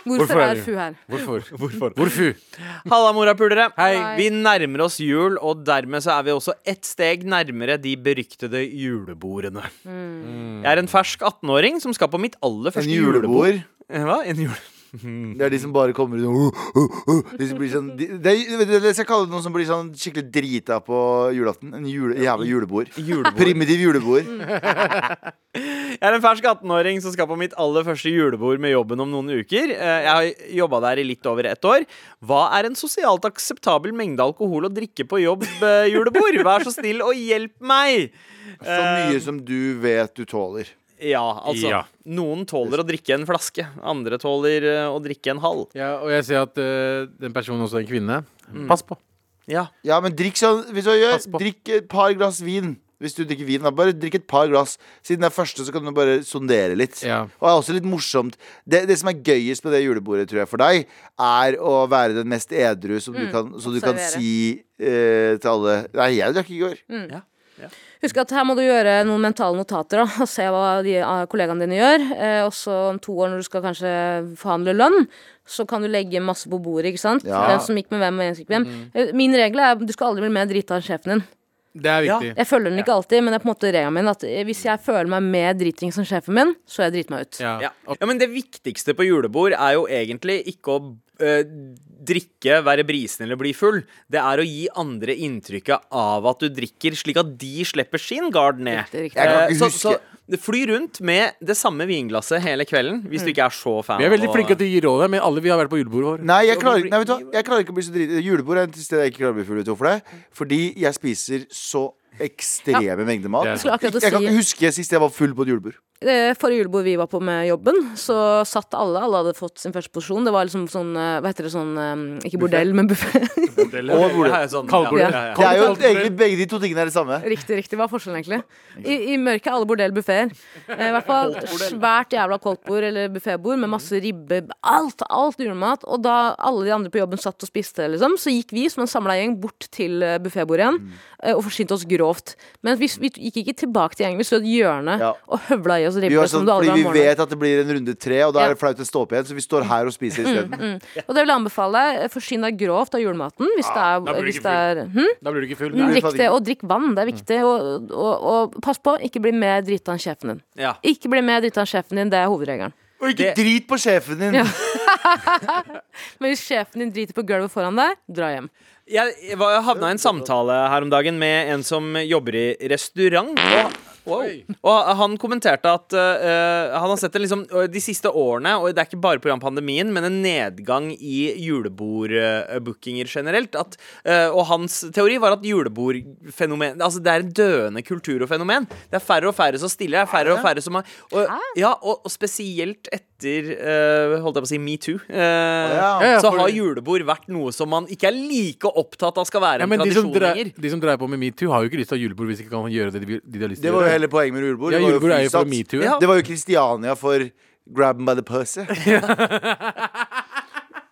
Hvorfor, Hvorfor er er det- Fu her? Hvorfor? Hvorfor? Hvorfor? Halla, morapulere. Hei. Vi nærmer oss jul, og dermed så er vi også ett steg nærmere de beryktede julebordene. Jeg er en fersk 18-åring som skal på mitt En aller første julebord? julebord. Eh, Hva? En jule... Det er de som bare kommer ut og uh, uh, uh, De som blir sånn de, det er- vet du, Jeg skal kalle det noen som blir sånn skikkelig drita på julaften. En jule, jævla julebord. Primitiv julebord. Mm. Jeg er en fersk 18-åring som skal på mitt aller første julebord med jobben om noen uker. Eh, Jeg har jobba der i litt over ett år. Hva er en sosialt akseptabel mengde alkohol å drikke på jobb-julebord? Vær så snill og hjelp meg! Så Eh. mye som du vet du tåler. Ja, altså. Ja. Noen tåler å drikke en flaske. Andre tåler eh, å drikke en halv. Ja, og jeg ser at eh, den personen også er en kvinne. Mm. Pass på. Ja Ja, men drikk sånn hvis du gjør. Pass på. Drikk et par glass vin. Hvis du drikker vin, da bare drikk et par glass. Siden det er første, så kan du bare sondere litt. Ja. Og det er også litt morsomt det, det som er gøyest med det julebordet, tror jeg, for deg, er å være den mest edru som du kan, så du kan Mm. observere. Mm. si eh, til alle Nei, jeg drakk i går. Ja. Husk at her må du gjøre noen mentale notater da, og se hva de, ah, kollegaene dine gjør. Eh, også om to år, når du skal kanskje forhandle lønn, så kan du legge masse på bordet. ikke sant? Ja. Hvem som gikk med hvem, og hvem som gikk med hvem. Eh, Min regel er du skal aldri bli mer drita enn sjefen din. Det er Ja. viktig. Jeg følger den ikke alltid, men det er på en måte regelen min at eh, hvis jeg føler meg mer driting som sjefen min, så jeg driter meg ut. Ja. Ja. ja, men det viktigste på julebord er jo egentlig ikke å eh, drikke, være brisen eller bli full. Det er å gi andre inntrykket av at du drikker, slik at de slipper sin gard ned. Riktig, riktig. Jeg kan ikke Eh, huske. Så, så fly rundt med det samme vinglasset hele kvelden, hvis du Mm. ikke er så fan. Vi er veldig av å- flinke til å gi råd her, men alle vi har vært på julebord vår. Nei, jeg klarer, nei, vet du hva? jeg klarer ikke å bli så drit Julebord er et sted jeg ikke klarer å bli full ut Hvorfor det? Mm. Fordi jeg spiser så ekstreme mengder mat Jeg jeg, skulle akkurat å kan si- ikke huske sist jeg var full på et julebord Eh, Forrige julebord vi var på med jobben, så satt alle. Alle hadde fått sin første porsjon. Det var liksom sånn, eh, hva heter det, sånn eh, Ikke bordell, men buffé. Og Det er jo sånn- Kaldbord. Ja. Ja, ja, Det ja. er jo Kaldbord. egentlig begge de to tingene er det samme Riktig, riktig. Hva er forskjellen, egentlig? I, i mørket er alle bordell buffeer. Eh, I hvert fall svært jævla koldtbord eller buffébord med masse ribbe, alt, alt julemat. Og da alle de andre på jobben satt og spiste, liksom, så gikk vi som en samla gjeng bort til eh, buffébordet Mm. igjen eh, og forsynte oss grovt. Men vi, vi gikk ikke tilbake til gjengen, vi sto i et hjørne Ja. og høvla i oss Vi, ribbe. gjør som sånn, du fordi aldri har om vi morgenen. vet at det blir en runde tre Og da Ja. Mm, er det flaut å stå opp igjen Så vi står her og spiser i stedet Og det vil jeg anbefale. eh, Forsyn deg grovt av julematen hvis det Ah, da blir er, du hvis ikke det er hm? Da blir du ikke full. Mm, Nei. Nei. Drikk det, og drikk Mm. vann. Det er viktig. Og, og, og pass på, ikke bli mer drita enn sjefen din. Ja. Ikke bli mer drita enn sjefen din, det er hovedregelen. Og ikke drit på sjefen din Men hvis sjefen din driter på gulvet foran deg, dra hjem. Jeg var- jeg havna i en samtale her om dagen med en som jobber i restaurant. Og, wow. og han kommenterte at eh, han har sett det liksom eh, de siste årene, og det er ikke bare pga. pandemien, men en nedgang i julebordbookinger generelt. At, eh, og hans teori var at julebordfenomen Altså, det er en døende kultur og fenomen. Det er færre og færre som stiller, det er færre og færre som har og, Ja, og, og spesielt etter eh, Holdt jeg på å si metoo. eh, Ja. Ja, ja, så for- har julebord vært noe som man ikke er like opptatt av skal være Ja, en men de som, tradisjon dreier, lenger. de som dreier på med metoo, har jo ikke lyst til å ha julebord hvis de ikke kan gjøre det de, vil- de har lyst til Det å var jo gjøre. hele poenget med julebord Ja, Det var jo julebord er jo for fullsatt. metoo. Ja. Det var jo Kristiania for Grab 'em by the pussy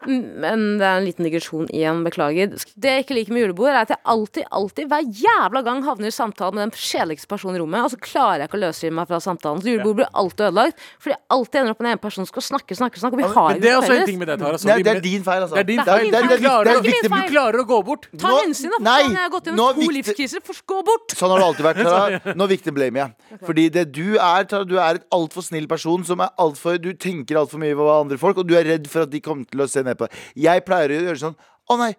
Men det er en liten digresjon igjen, beklager. Det jeg ikke liker med julebord, er at jeg alltid, alltid, hver jævla gang havner i samtale med den kjedeligste personen i rommet, og så klarer jeg ikke å løsrive meg fra samtalen. Så julebord blir alltid ødelagt, fordi jeg alltid ender opp med en egen person som skal snakke, snakke, snakke, og vi har Men det er ikke noe også en felles. ting med deg, Tara. som Nei, vi- det er din feil altså Det er din Det er feil. min feil. Du, klarer, Det er ikke min å- feil. du klarer å gå bort. Ta Nå- hensyn, da, for Nei, faen, jeg har gått nå er gjennom to viktig- livskriser, for gå bort! Sånn har det alltid vært. Tara. Nå viktig blame jeg. Fordi det du er, Tara, du er et altfor snill person. Som er alt for, du tenker altfor mye på hva andre folk, og du er redd for at de kommer til å se ned på deg. Jeg pleier å gjøre sånn Å, nei.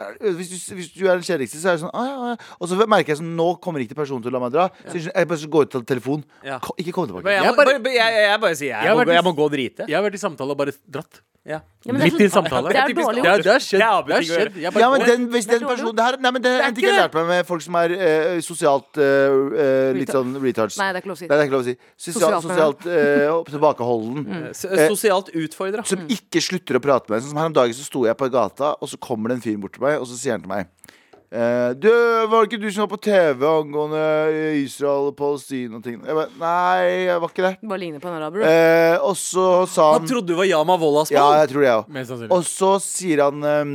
er- Hvis du, hvis du er den kjedeligste, så er det sånn «Å, ja, ja. Og så merker jeg sånn Nå kommer ikke personen til å la meg dra. Så jeg skjønner- jeg bare så går ut til telefonen. Ja. Ko- Ikke kom tilbake. Men jeg, Jeg må- bare- bare, jeg, jeg bare sier jeg, Jeg har må, vært- jeg må gå og drite. Jeg har vært i samtale og bare dratt. Ja. men det er Midt i en så- samtale. Det er Typisk dårlig Det gjort. er- det har skjedd. Det er Det har avbryting å skjedd. Jeg bare Ja, men går. den, hvis den Det er dårlig personen det her, Nei, men det er en ting jeg ikke har lært meg med folk som er eh, sosialt eh, eh, litt Retard. sånn retards. Nei, det er ikke lov å si. Nei, det er ikke lov å si. Sosialt, Sosialt, sosialt Mm. eh, opp- tilbakeholden. S- Eh, Sosialt utfordra. som ikke slutter å prate med meg. Sånn som her om dagen så sto jeg på gata, og så kommer det en fyr bort til meg, og så sier han til meg eh, Du, var det ikke du som var på TV angående Israel og Palestina og ting? Jeg bare, Nei, jeg var ikke det. Bare ligner på en araber. du. Eh, og så sa Han han trodde du var Yama Wollaspall. um, Ja, jeg tror det, jeg òg. Mest sannsynlig. Og så sier han ehm,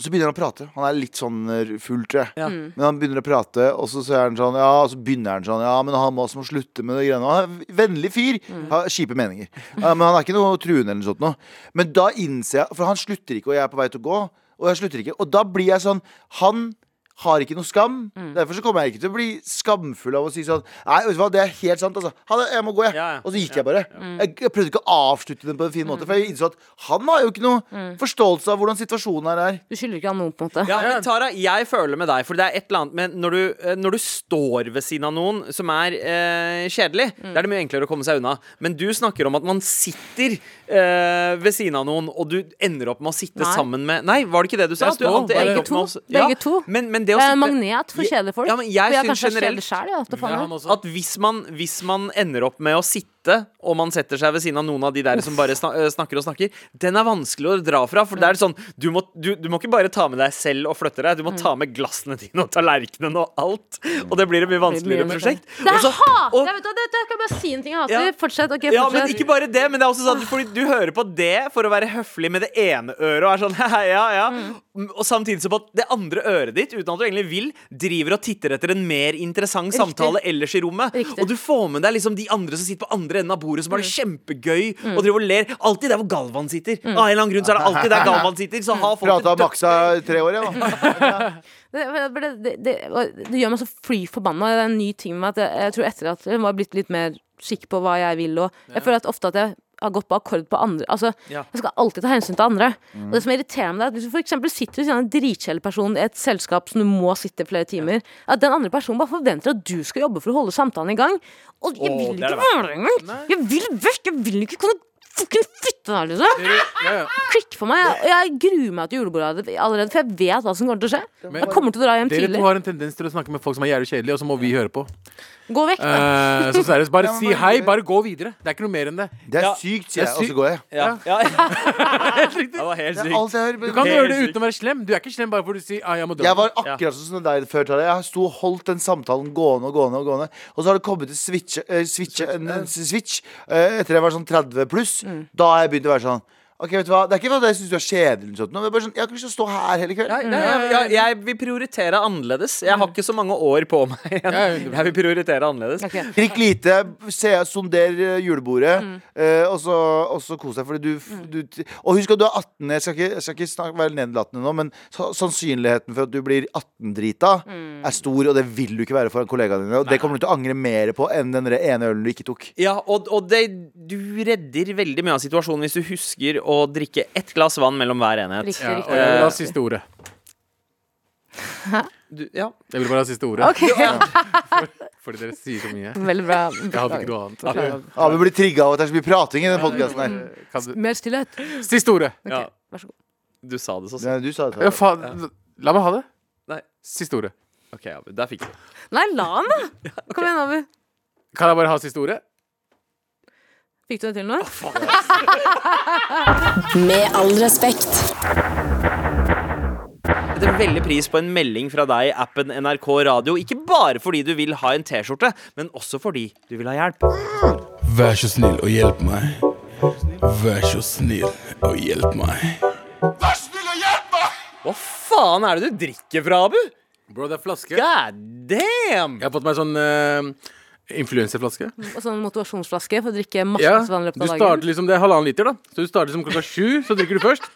så begynner han å prate. Han er litt sånn eh, full, tror jeg. Ja. Men han begynner å prate, og så, sier han sånn, ja, og så begynner han sånn Ja, men han må også må slutte med det greiene. Han er en vennlig fyr. Mm. Har kjipe meninger. Ja, men han er ikke noe truende eller noe sånt noe. Men da innser jeg For han slutter ikke, og jeg er på vei til å gå. Og jeg slutter ikke. Og da blir jeg sånn Han har ikke noe skam. Mm. Derfor så kommer jeg ikke til å bli skamfull av å si sånn Nei, vet du hva, det er helt sant, altså. Ha det, jeg må gå, jeg. Ja, Mm. ja. Og så gikk jeg bare. Jeg, jeg prøvde ikke å avslutte den på en fin måte, for jeg innså at han har jo ikke noe Mm. forståelse av hvordan situasjonen her er. Du skylder ikke han noe, på en måte. Ja, men Tara, jeg føler med deg, for det er et eller annet med når du, eh, når du står ved siden av noen som er eh, kjedelig, da er det mye enklere å komme seg unna. Men du snakker om at man sitter eh, ved siden av noen, og du ender opp med å sitte Nei. sammen med Nei, var det ikke det du sa? Jeg At du står, alltid bare- ender Begge opp to. med å s- Begge Ja, to. Men, men det å Jeg er en sitte magnet for kjedelige folk. Ja, men jeg For jeg er synes kanskje generelt- kjedelig sjæl, jeg. vet da Ja, faen, jeg. han også. at hvis man, hvis man ender opp med å sitte sette, og man setter seg ved siden av noen av de der som bare sna øh, snakker og snakker, den er vanskelig å dra fra. For det er sånn, du må, du, du må ikke bare ta med deg selv og flytte deg, du må ta med glassene dine og tallerkenene og alt. Og det blir et mye vanskeligere mer- prosjekt. Det Og er så- hat! og- Jeg vet, det, det, jeg kan bare si en ting jeg hater. Ja. Fortsett. ok, ja, fortsett. men ikke bare det, men det er også sånn Fordi du hører på det for å være høflig med det ene øret og er sånn «Haha, ja, ja. Mm. Og samtidig som at det andre øret ditt, uten at du egentlig vil, driver og titter etter en mer interessant samtale ellers i rommet. Riktig. Mm. Og du får med deg liksom de andre som sitter på andre enden av bordet, som har det kjempegøy og driver og ler. Alltid der hvor Galvan sitter. Av en eller annen grunn så er det alltid der Galvan sitter. Så har folk Prata det om maksa i tre år, jeg, da. Det, for det, det, det, og det gjør meg så fly forbanna. Det er en ny ting med at jeg, jeg tror etter at jeg var blitt litt mer sikker på hva jeg vil, og jeg føler at ofte at jeg har gått på akkord på andre. Altså, Ja. Mm. Jeg skal alltid ta hensyn til andre. Og det som irriterer meg, det er at hvis du for eksempel sitter ved siden av en dritkjedelig person i et selskap som du må sitte i flere timer, at den andre personen bare forventer at du skal jobbe for å holde samtalen i gang. Og jeg Åh, vil det er ikke det være engang! Jeg vil vekk! Jeg vil ikke kunne fucking flytte her, liksom! Ja, ja. Klikk for meg. Jeg, jeg gruer meg til julebordet allerede, for jeg vet hva som kommer til å skje. Jeg kommer til å dra hjem Dere to tidlig. har en tendens til å snakke med folk som er jævlig kjedelige, og så må vi høre på. Gå vekk. Eh, så seriøst, bare Ja, men si bare- hei, bare gå videre. Det er ikke noe mer enn det. Det er Ja. sykt, Det sier er jeg, og sykt. så går jeg. Ja. ja. Helt riktig. Det var helt Det er sykt. alt jeg hører på. Du kan Helt gjøre det sykt. uten å være slem. Du er ikke slem bare fordi du sier ah, 'jeg må dra'. Jeg var akkurat sånn som deg før. Tara. Jeg sto og holdt den samtalen gående og gående. Og gående Og så har det kommet et switch, eh, switch, en, en switch eh, etter jeg var sånn 30 pluss. Da har jeg begynt å være sånn Ok, vet du hva, Det er ikke fordi jeg syns du er kjedelig, eller noe sånt, men det er bare sånn, jeg har ikke lyst til å stå her hele kvelden. Nei, jeg, jeg, jeg vil prioritere annerledes. Jeg Mm. har ikke så mange år på meg igjen. Jeg vil prioritere annerledes. Ok. Drikk lite, se, sonder eh, julebordet, eh, og så, og så kos deg. Fordi du, du Og husk at du er 18. Jeg skal ikke, jeg skal ikke snakke, være nedlatende nå, men sa- sannsynligheten for at du blir 18-drita, er stor, og det vil du ikke være foran kollegaene dine. Og det kommer du til å angre mer på enn den der ene ølen du ikke tok. Ja, og, og det, du redder veldig mye av situasjonen hvis du husker å drikke ett glass vann mellom hver enhet. Riktig, Ja, og riktig. jeg vil ha siste ordet. Du, ja. Jeg vil bare ha siste ordet. Ja. For, fordi dere sier så mye. Veldig bra. Jeg hadde ikke noe annet. Abu blir trigga av at det er så mye prating i den podkasten her. Eh, Kan du- Mer stillhet. Siste ordet. ja. Vær så god. Du sa det så Ja, du sa det. Ja, faen. La meg ha det. Nei. Siste ordet. OK, Abu. Der fikk du det. Nei, la han, da! Kom igjen, Abu. Kan jeg bare ha siste ordet? Fikk du det til nå? Med all respekt. setter veldig pris på en melding fra deg i appen NRK Radio. Ikke bare fordi du vil ha en T-skjorte, men også fordi du vil ha hjelp. Vær så snill og hjelp meg. Vær så snill og hjelp meg. Hva faen er det du drikker fra, Abu? Bro, det er flaske. God damn! Jeg har fått meg sånn uh, influenserflaske. Og sånn motivasjonsflaske for å drikke masse Ja, vann i løpet du av starter dagen. liksom, Det er halvannen liter, da. Så du starter som klokka sju, så drikker du først.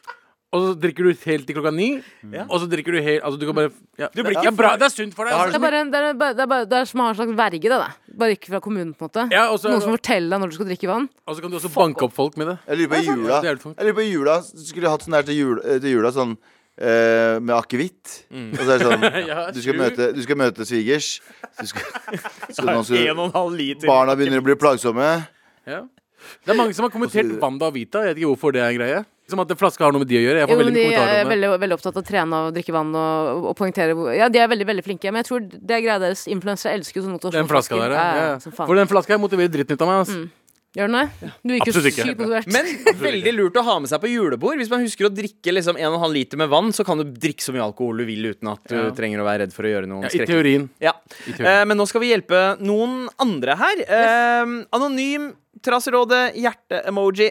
Og så drikker du helt til klokka ni. Og så drikker du helt Altså, du kan bare ja, blir ikke det, er bra, det er sunt for deg. Det er Altså. bare, det er bare, det er bare det er som å ha en slags verge, det. Da. Bare ikke fra kommunen, på en måte. Ja, og så- Noen som forteller deg når du skal drikke vann. Og så kan du også banke opp folk med det. Jeg lurer på i jula. Ja, det er det for. Jeg lurer på i jula Skulle jeg hatt sånn der til jula, til jula sånn eh, med akevitt. Og så er det sånn Mm. Ja, Du skal sju. møte, du skal møte svigers. Du skal, så nå En skal, og en halv liter. barna begynner å bli plagsomme. Ja. Det er mange som har kommentert Wanda og Vita. Jeg vet ikke hvorfor det er en greie. Som at flaske har noe med de å gjøre. Jeg Jo, får men veldig de mye er kommentarer om det. veldig, veldig opptatt av å trene og drikke vann og, og poengtere hvor- Ja, de er veldig veldig flinke, men jeg tror det er greia deres. Influensere elsker jo sånn motivasjonsflasker. Den flaska der, ja. Ja, ja. ja, som faen. Mm. For den flaska her motiverer dritten ut av meg. ass. Gjør den det? Du virker Absolutt ikke. sykt motivert. Men veldig lurt å ha med seg på julebord. Hvis man husker å drikke liksom 1,5 liter med vann, så kan du drikke så mye alkohol du vil uten at du Ja. trenger å være redd for å gjøre noen Ja, I skrekker. teorien. Ja. teorien. Eh, men nå skal vi hjelpe noen andre her. Eh, anonym Traserådet hjerte-emoji.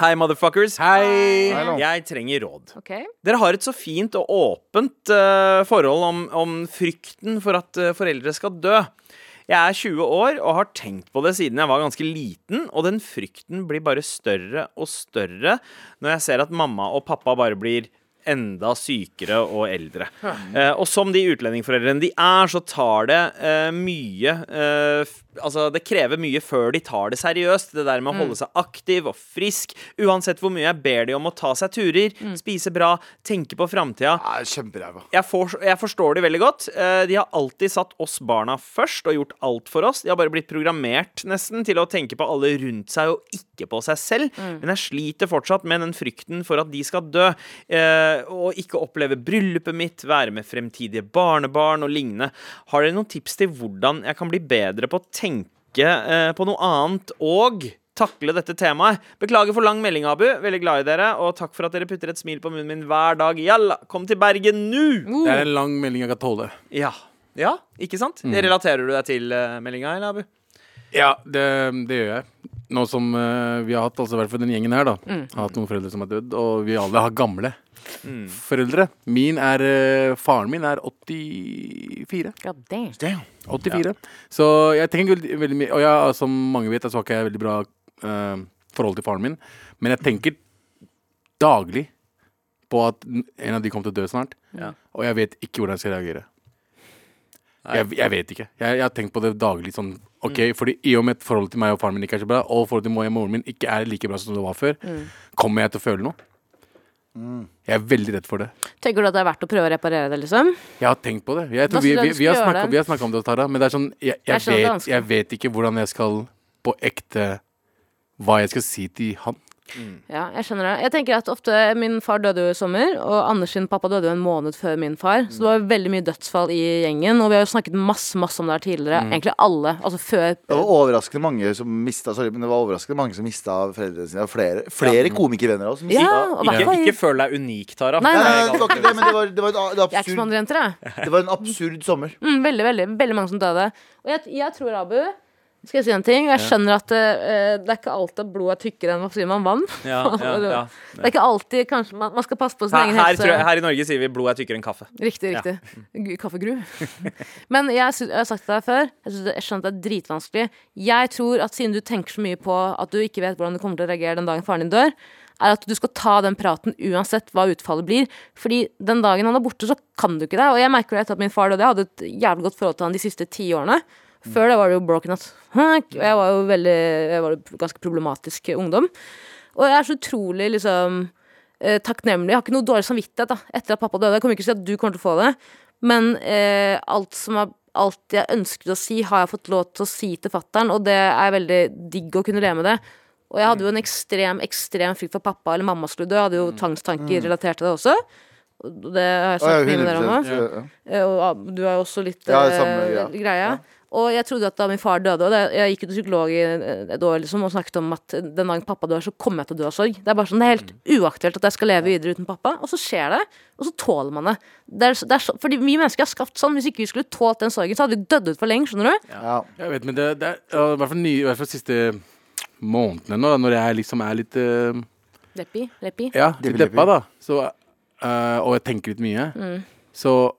Hei, motherfuckers. Hei! Jeg trenger råd. Ok. Dere har et så fint og åpent eh, forhold om, om frykten for at eh, foreldre skal dø. Jeg er 20 år og har tenkt på det siden jeg var ganske liten, og den frykten blir bare større og større når jeg ser at mamma og pappa bare blir enda sykere og eldre. Eh, og som de utlendingforeldrene de er, så tar det eh, mye eh, f Altså, det krever mye før de tar det seriøst. Det der med å holde seg aktiv og frisk, uansett hvor mye jeg ber de om å ta seg turer, spise bra, tenke på framtida Ja, Kjemperæva. jeg, for, jeg forstår de veldig godt. Eh, De har alltid satt oss barna først og gjort alt for oss. De har bare blitt programmert nesten til å tenke på alle rundt seg og ikke på seg selv. Men jeg sliter fortsatt med den frykten for at de skal dø. eh, Og ikke oppleve bryllupet mitt, være med fremtidige barnebarn og lignende. Har dere noen tips til hvordan jeg kan bli bedre på å tenke ikke eh, på noe annet og takle dette temaet. Beklager for lang melding, Abu. Veldig glad i dere. Og takk for at dere putter et smil på munnen min hver dag. Jalla, kom til Bergen nå! Uh. Det er en lang melding jeg kan tåle. Ja. ja, ikke sant? Relaterer du deg til uh, meldinga, eller, Abu? Ja, det, det gjør jeg. Nå som eh, vi har hatt, altså i hvert fall den gjengen her, da Mm. har hatt noen foreldre som er dødd, og vi alle har gamle Mm. foreldre. Min er eh, Faren min er 84. God damn. 84. Så jeg tenker veldig, veldig mye Og jeg, som mange vet, så har ikke jeg veldig bra eh, forhold til faren min. Men jeg tenker daglig på at n- en av de kommer til å dø snart. Ja. Og jeg vet ikke hvordan jeg skal reagere. Jeg, jeg vet ikke. Jeg, jeg har tenkt på det daglig. Sånn, ok, fordi I og med at forholdet til meg og faren min ikke er så bra, og forholdet til meg og moren min ikke er like bra som det var før, kommer jeg til å føle noe? Jeg er veldig redd for det. Tenker du at det er verdt å prøve å reparere det, liksom? Jeg har tenkt på det. Jeg Hva tror vi, skulle vi, du vi har skulle gjøre snakket- da? vi har snakka om det, Tara, men det er sånn Jeg, jeg, Jeg skjønner det er vet, vanskelig. jeg vet ikke hvordan jeg skal på ekte Hva jeg skal si til han. Ja, jeg skjønner det. Jeg tenker at ofte Min far døde jo i sommer, og Anders sin pappa døde jo en måned før min far. Så det var veldig mye dødsfall i gjengen, og vi har jo snakket masse masse om det her tidligere. Egentlig alle. Altså før Det var overraskende mange som mista Sorry, men det var overraskende mange som mista foreldrene sine. Og flere, flere komikervenner også. som Ja, mistet- og i hvert Ikke, fall ikke føl deg unik, Tara. Nei, Nei, nei, nei, det var ikke det, men det var, det var, et, det Jeg er ikke som absurd, andre jenter, jeg. det var en absurd sommer. Mm, veldig, veldig, veldig mange som døde. Og jeg, jeg tror, Abu skal jeg si en ting? Jeg skjønner at eh, det er ikke alltid at blod er tykkere enn hva sier man vann. Ja, ja, ja. Det er ikke alltid kanskje man, man skal passe på sin Her, egen her, helse. tror jeg, her i Norge sier vi 'blod er tykkere enn kaffe'. Riktig, riktig. G- Kaffegru. Men jeg, sy- jeg har sagt til deg før, jeg, synes, det- jeg skjønner at det er dritvanskelig. Jeg tror at siden du tenker så mye på at du ikke vet hvordan du kommer til å reagere den dagen faren din dør, er at du skal ta den praten uansett hva utfallet blir. Fordi den dagen han er borte, så kan du ikke det. Og jeg merker jo etter at min far døde, jeg hadde et jævlig godt forhold til han de siste ti årene. Før det var det jo broken as fuck, og jeg var jo veldig, jeg var jo ganske problematisk ungdom. Og jeg er så utrolig liksom eh, takknemlig. Jeg har ikke noe dårlig samvittighet da, etter at pappa døde. Jeg kommer ikke til å si at du kommer til å få det, men eh, alt som er Alt jeg ønsket å si, har jeg fått lov til å si til fattern, og det er veldig digg å kunne leve med det. Og jeg hadde jo en ekstrem ekstrem frykt for at pappa eller mamma skulle dø. Jeg hadde jo tvangstanker relatert til det også. Og det Mm. Å, har jeg ja, snakket mye med dere om. 100%, ja, også. ja. Eh, Og ah, du har jo også litt Ja, eh, det samme, ja. greie. Og jeg trodde at da min far døde og det, Jeg gikk jo til psykolog i eh, et år liksom, og snakket om at den dagen pappa dør, så kommer jeg til å dø av sorg. Det er bare sånn, det er helt Mm. uaktuelt at jeg skal leve videre uten pappa. Og så skjer det, og så tåler man det. det, er, så- det er, så- fordi vi mennesker er skapt sånn. Hvis ikke vi skulle tålt den sorgen, så hadde vi dødd ut for lenge. skjønner du? Ja. Jeg vet, men det, det er ja, I hvert fall, nye- i hvert fall siste månedene nå, da, når jeg liksom er litt eh, Leppi, leppi. Ja, Det litt vil jeg deppa, da. Så, eh, og jeg tenker litt mye. Så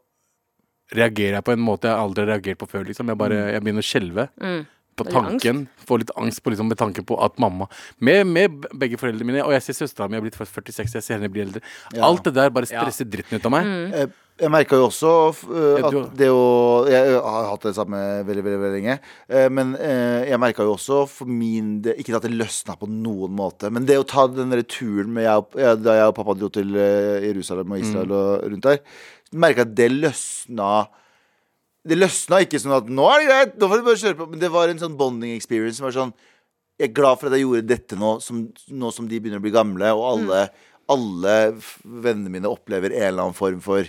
reagerer jeg på en måte jeg aldri har reagert på før. Liksom. Jeg, bare, jeg begynner å skjelve på Litt tanken. Får litt angst på, liksom, med tanke på at mamma Med, med begge foreldrene mine, og jeg ser søstera mi er blitt 46, jeg ser henne bli eldre. Alt det der bare stresser dritten ut av meg. Jeg, Eh, jeg merka jo også eh, Ja, at du- det å Jeg har hatt det samme veldig veldig, veldig lenge. eh, Men eh, jeg merka jo også for min del Ikke at det løsna på noen måte, men det å ta den der turen med jeg, og- ja, da jeg og pappa dro til eh, Jerusalem og Israel og rundt der, merka at det løsna Det løsna ikke sånn at nå er det greit, nå får du bare kjøre på. Men det var en sånn bonding experience som var sånn jeg er glad for at jeg gjorde dette nå som, nå som de begynner å bli gamle, og alle, alle f- vennene mine opplever en eller annen form for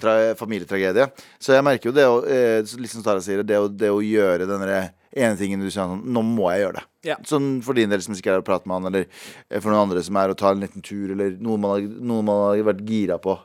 tra familietragedie. Så jeg merker jo det, å, eh, så liksom Tara sier, det, å, det å gjøre den derre ene tingen du sier sånn Nå må jeg gjøre det. Ja. Sånn for din del som ikke er å prate med han, eller eh, for noen andre som er å ta en liten tur, eller noe man har, noe man har vært gira på.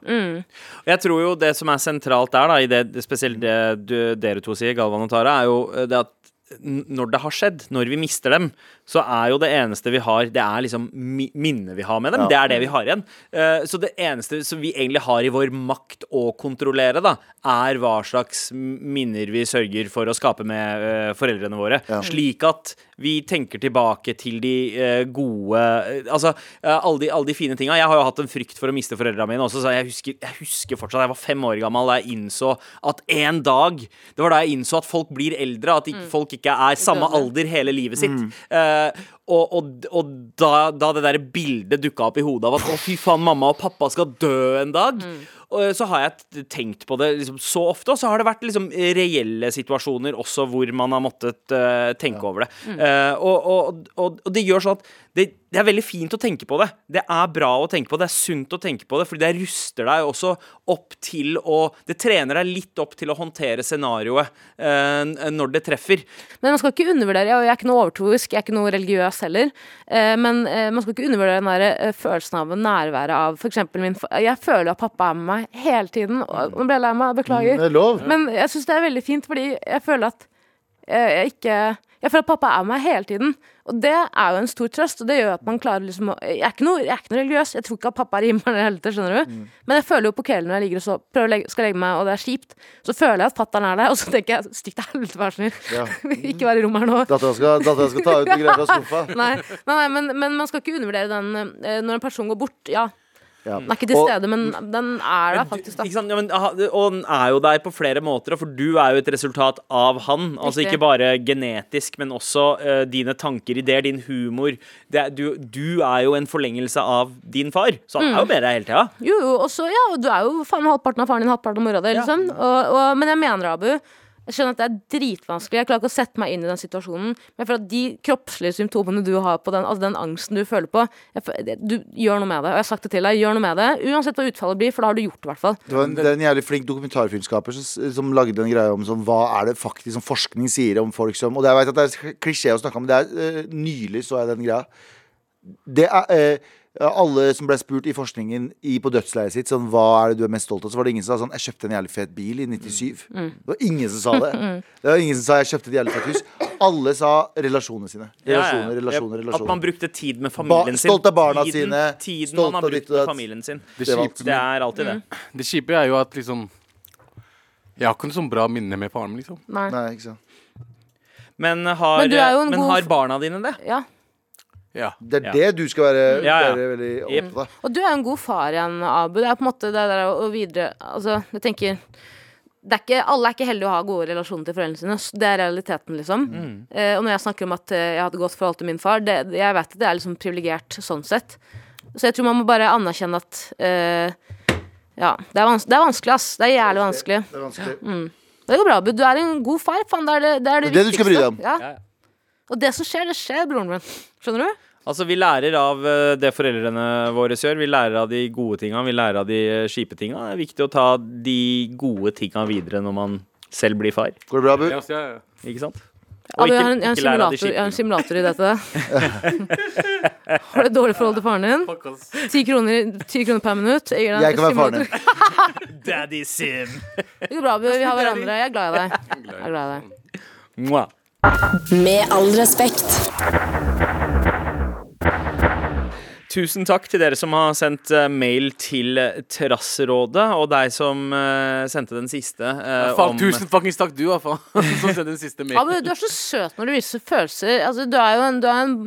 Jeg tror jo det som er sentralt der, da, i det, spesielt det du, dere to sier, Galvan og Tara, er jo eh, det at n- når det har skjedd, når vi mister dem, så er jo det eneste vi har, det er liksom mi- minnet vi har med dem. Det er det vi har igjen. Eh, Så det eneste som vi egentlig har i vår makt å kontrollere, da, er hva slags minner vi sørger for å skape med eh, foreldrene våre. Slik at vi tenker tilbake til de eh, gode eh, Altså eh, alle, de, alle de fine tinga. Jeg har jo hatt en frykt for å miste foreldra mine også, så jeg husker, jeg husker fortsatt Jeg var fem år gammel da jeg innså at en dag Det var da jeg innså at folk blir eldre, at ikke, folk ikke er samme alder hele livet sitt. Eh, og og, og da, da det der bildet dukka opp i hodet av at å, fy faen, mamma og pappa skal dø en dag. og så har jeg t- tenkt på det liksom, så ofte, og så har det vært liksom, reelle situasjoner også hvor man har måttet eh, tenke over det. Eh, og, og, og, og det gjør sånn at det, det er veldig fint å tenke på det. Det er bra å tenke på det, det er sunt å tenke på det, fordi det ruster deg også opp til å Det trener deg litt opp til å håndtere scenarioet eh, n- når det treffer. Men man skal ikke undervurdere, og jeg er ikke noe overtroisk, jeg er ikke noe religiøs heller, eh, men eh, man skal ikke undervurdere den der eh, følelsen av nærværet av for eksempel min fa Jeg føler jo at pappa er med meg hele tiden, og nå ble jeg lei meg, Mm. Det beklager. er lov. Men jeg syns det er veldig fint, fordi jeg føler at eh, jeg ikke Jeg føler at pappa er med meg hele tiden. Og det er jo en stor trøst, og det gjør at man klarer liksom å Jeg er ikke noe, jeg er ikke noe religiøs, jeg tror ikke at pappa er i himmelen heller, skjønner Mm. du. Men jeg føler jo på kvelden når jeg ligger og så prøver å legge, skal legge meg, og det er kjipt, så føler jeg at fatter'n er der, og så tenker jeg stikk til helvete, vær så snill. Ja. ikke vær i rommet her nå. Dattera skal, datteren skal ta ut noen greier fra skuffa. Nei, nei, nei men, men man skal ikke undervurdere den eh, når en person går bort. Ja, Ja. den er ikke til Og- stede, men den er der faktisk, da. Ikke sant? Ja, men, aha, og han er jo deg på flere måter, for du er jo et resultat av han. Altså Riktig. Ikke bare genetisk, men også eh, dine tanker, ideer, din humor. Det, er- du, du er jo en forlengelse av din far, så Mm. han er jo med deg hele tida. Jo, jo, og så, ja, og du er jo faen meg halvparten av faren din, halvparten av mora di, liksom. Og, og, men jeg mener, Abu, jeg skjønner at det er dritvanskelig. Jeg klarer ikke å sette meg inn i den situasjonen. Men for at de kroppslige symptomene du har på den, altså den angsten du føler på, jeg, fø- det- du gjør noe med det. Og jeg har sagt det til deg, gjør noe med det. Uansett hva utfallet blir, for da har du gjort det, i hvert fall. Det var en, det er en jævlig flink dokumentarfilmskaper som, som lagde en greie om sånn, hva er det faktisk som forskning sier om folk som Og det, jeg vet at det er klisjé å snakke om, men det er, eh, nylig så jeg den greia. Det er eh, alle som ble spurt i forskningen i, på dødsleiet sitt sånn, hva er det du er mest stolt av, så var det ingen som sa sånn Jeg kjøpte en jævlig fet bil i 97. Mm. Det var ingen som sa det. Det var ingen som sa jeg kjøpte et jævlig fett hus. Alle sa relasjonene sine. Relasjoner, Ja, ja. relasjoner, At man relasjoner. brukte tid med familien Ba- sin. stolt av barna tiden, sine, Tiden stolt man av har ditt brukt og med datt. familien sin. Det Det var kjipe, Det er alltid det. Mm. det kjipe er jo at liksom Jeg har ikke noe sånn bra minne med faren min, liksom. Nei. Nei, ikke sant. Men har, eh, Men du er jo en men god- har barna dine det? Ja. Ja. Det er Ja. det du skal være, Ja, ja. være veldig Jep. opptatt av. Og du er en god far igjen, Abu. Det er på en måte det der å å videre Altså, jeg tenker det er ikke, alle er ikke heldige å ha gode relasjoner til foreldrene sine. så Det er realiteten, liksom. Mm. Eh, og når jeg snakker om at eh, jeg har et godt forhold til min far, det, jeg vet at det er liksom privilegert sånn sett. Så jeg tror man må bare anerkjenne at eh, Ja, det er, vans det er vanskelig, ass. Det er jævlig vanskelig. Det er vanskelig. Mm. Det går bra, Abu. Du er en god far. Faen, det er det, det, er det, Det er det du skal bry deg om. Ja. Og det som skjer, det skjer, broren min. Skjønner du? Altså, Vi lærer av eh, det foreldrene våre gjør. Vi lærer av de gode tinga, vi lærer av de eh, kjipe tinga. Det er viktig å ta de gode tinga videre når man selv blir far. Går det bra, Bu? Ja, så jeg- Ikke sant? Ja, Og men Altså, jeg ikke- har en, jeg har en ikke lære av de simulator, jeg har en kjipe simulator i dette. Har du et dårlig forhold til faren din? Fuck, ass. Ti kroner, 10 kroner per minutt. Jeg, gir deg en Jeg kan være faren din. simulator. tingene. Daddy sim. Det går bra, Abu. Vi har hverandre. Jeg er glad i deg. Jeg er glad i deg. Mwah. Med all respekt. Tusen takk til dere som har sendt eh, mail til Terrasserådet, og deg som eh, sendte den siste. eh, om- Faen, tusen fuckings takk, du, da, faen. Som sendte den siste Abu, mailen. du er så søt når du viser følelser. Altså, du er jo en, du er en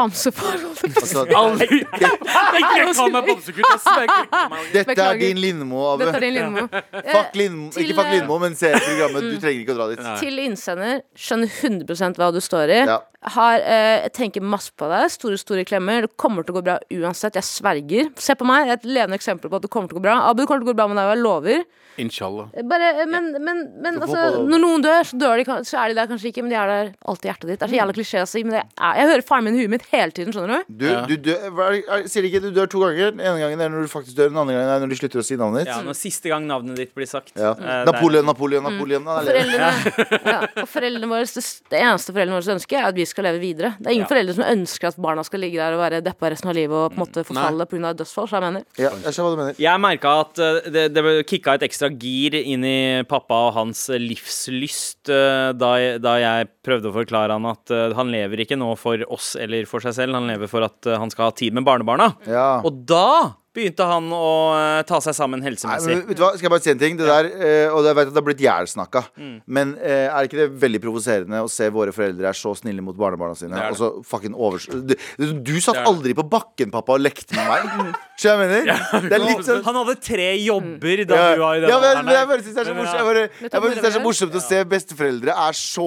bamsefar. holdt jeg på å si. Så, Aldri. Ikke kall meg bamsekutt, ass. Det er ikke- dette Beklager. er din Lindmo, Abu. Dette er din Lindmo. Fuck Lindmo. til, ikke fuck eh, Lindmo, men se programmet. Du trenger ikke å dra dit. Til innsender. Skjønner 100 hva du står i. Ja. Har, eh, jeg tenker masse på deg. Store, store klemmer. Det kommer til å gå bra uansett. Jeg sverger. Se på meg. Jeg er et levende eksempel på at det kommer til å gå bra. Abu, det kommer til å gå bra med deg, og jeg lover. Inshallah. Bare, eh, men men, men Så altså, fotball- når noen dør, så, dør de, kan- så er de der kanskje ikke, men de er der alltid i hjertet ditt. Det er så jævla klisjé å si, men det er, jeg hører faren min i huet mitt hele tiden, skjønner du? Du, du dør, hva er, det- er, sier de ikke du dør to ganger? Den ene gangen er når du faktisk dør, den andre gangen er når de slutter å si navnet ditt. Ja, når siste gang navnet ditt blir sagt. Ja. Eh, der. Napoleon, Napoleon, Napoleon. Han er leder. Foreldrene, ja, og foreldrene våre, det, det eneste foreldrene våre ønsker, er at vi skal leve videre. Det er ingen Ja. foreldre som ønsker at barna skal ligge der og være deppa resten av livet og på en måte forfalle pga. dødsfall, så jeg mener. Ja, jeg skjønner hva du mener. Jeg merka at eh, det, det kicka et ekstra gir inn i pappa og hans livslyst eh, da jeg, da jeg prøvde å forklare han at eh, han lever ikke nå for oss eller for seg selv, han lever for at eh, han skal ha tid med barnebarna. Ja. Og da begynte han å eh, ta seg sammen Nei, helsemessig. men, vet du hva, Skal jeg bare si en ting? Det der, eh, og jeg vet at det har blitt jævlsnakka. Men eh, er ikke det veldig provoserende å se våre foreldre er så snille mot barnebarna sine? er det. Og så fucking overs... Du, du satt Det er det. aldri på bakken, pappa, og lekte med meg. Skjønner du hva jeg mener? Det er litt sånn Mm. Han hadde tre jobber da Ja, du var i den ja, men, alderen men jeg der. bare synes det er så Men, morsomt ja. Jeg bare, jeg bare synes det er så Med morsomt å se besteforeldre er så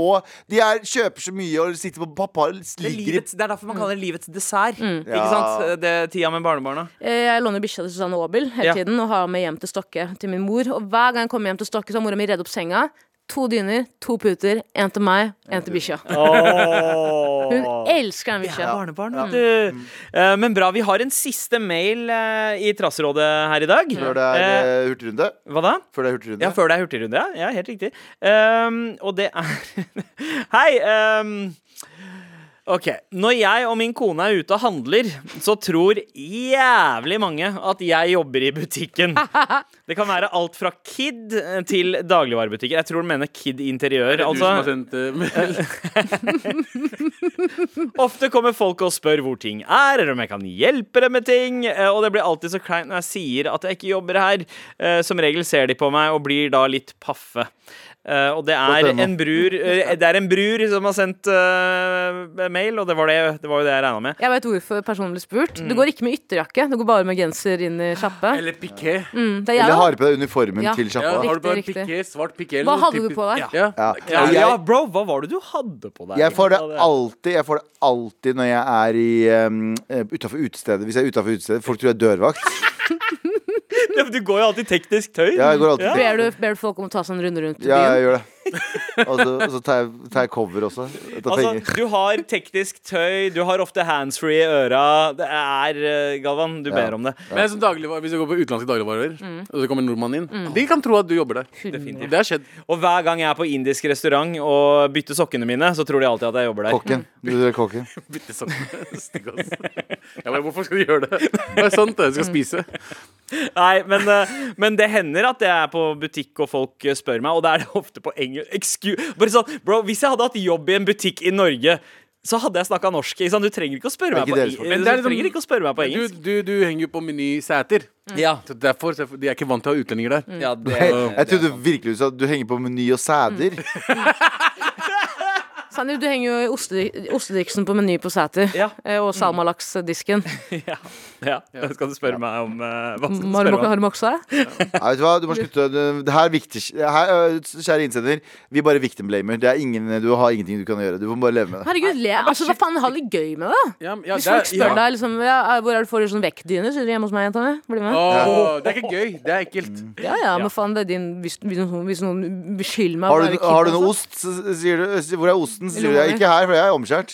De er, kjøper så mye og sitter på pappa Det er, ligger i livets, det er derfor man kaller det livets dessert. Ikke Ja. sant? Det er Tida med barnebarna. Eh, Jeg låner bikkja til Susanne Aabel hele Ja. tiden og har med hjem til Stokke til min mor. Og hver gang jeg kommer hjem til Stokke, så har mora mi redd opp senga. To dyner, to puter. Én til meg, én til bikkja. Hun elsker den bikkja. Barnebarn, vet du. Eh, Men bra. Vi har en siste mail eh, i Trassrådet her i dag. Før det er Eh, eh, hurtigrunde. Hva da? Før det er hurtigrunde. Ja, før det er hurtigrunde. Ja, ja helt riktig. Ehm, og det er Hei! ehm, OK. Når jeg og min kone er ute og handler, så tror jævlig mange at jeg jobber i butikken. Det kan være alt fra Kid eh, til dagligvarebutikker. Jeg tror den mener Kid Interiør. Du som har Altså, sendt eh, mail. ofte kommer folk og spør hvor ting er, eller om jeg kan hjelpe dem med ting. eh, Og det blir alltid så kleint når jeg sier at jeg ikke jobber her. Eh, Som regel ser de på meg og blir da litt paffe. Eh, og det er, .no. en brur, eh, det er en brur som har sendt eh, mail, og det var, det, det var jo det jeg regna med. Jeg vet hvorfor personen ble spurt. Du går ikke med ytterjakke, du går bare med genser inn i sjappe. Eller piké. Mm, Det er Eller jeg, har på deg uniformen Ja. til Ja, sjappa. har du på en Riktig, riktig. piké, svart piké da. eller Hva noe hadde du typisk- på deg? Ja. Ja. Ja, Og ja, jeg, bro, hva var det du hadde på deg? jeg får det egentlig? alltid Jeg får det alltid når jeg er i um, utafor utestedet. Hvis jeg er utafor utestedet, folk tror jeg er dørvakt. Ja, men Du går jo alltid teknisk tøy. Ja, jeg går alltid Ber du, ber du folk om å ta seg en runde rundt Ja, jeg byen? gjør det. Og så, og så tar, jeg, tar jeg cover også. Jeg tar penger. Altså, du har teknisk tøy, du har ofte handsfree i øra. Det er eh, Galvan, du ber om det. Men som dagligvar- Hvis du går på utenlandske dagligvarer, Mm. og så kommer en nordmann inn De kan tro at du jobber der. Definitivt. Det har skjedd. Og hver gang jeg er på indisk restaurant og bytter sokkene mine, så tror de alltid at jeg jobber der. Kokken. Du tror jeg er kokken. Bitte sånn. Stygg, ass. Ja, men hvorfor skal du gjøre det? Det er sant, det. Du skal Mm. spise. Nei, men, eh, men det hender at jeg er på butikk og folk eh, spør meg, og da er det ofte på engelsk. Excuse. Bare sånn, bro, hvis jeg hadde hatt jobb i en butikk i Norge, så hadde jeg snakka norsk. Ikke sant? Du trenger ikke å spørre Det er meg ikke på, deres i- folk. du Men det er liksom- trenger ikke å spørre meg på Du, engelsk. du, du henger jo på Meny Sæter. Mm. Ja, Så derfor, så de er ikke vant til å ha utlendinger der. ja det, Jeg, jeg trodde virkelig du sa at du henger på Meny og sæder. Sandeep, du henger jo i oste- ostediksen på Meny på Sæter. Ja. eh, Og Salmalaks-disken. ja, ja. Det skal du spørre meg om. eh, hva skal du Har spørre du meg om? har du moksa? Nei, vet du hva, du må slutte Du- Det her er viktig her, øh, Kjære innsender, vi bare victim blamer Det er ingen, du har ingenting du kan gjøre Du må bare leve med det Herregud, le. Altså, hva faen, ha det gøy med det. Ja, men- ja, Hvis folk det er- spør ja. deg liksom, ja, hvor er det får du sånn vekkdyne, sier du hjemme hos meg, jenta mi. Bli med. Åh, det er ikke gøy. Det er ekkelt. Mm. Ja, ja, men faen, det er din Hvis, hvis, noen, hvis noen beskylder meg har for å du, være har du kid, noe altså. ost, så sier du sier- Hvor er osten? Så sier du, Lomma jeg er mi. ikke her, for jeg er omskjært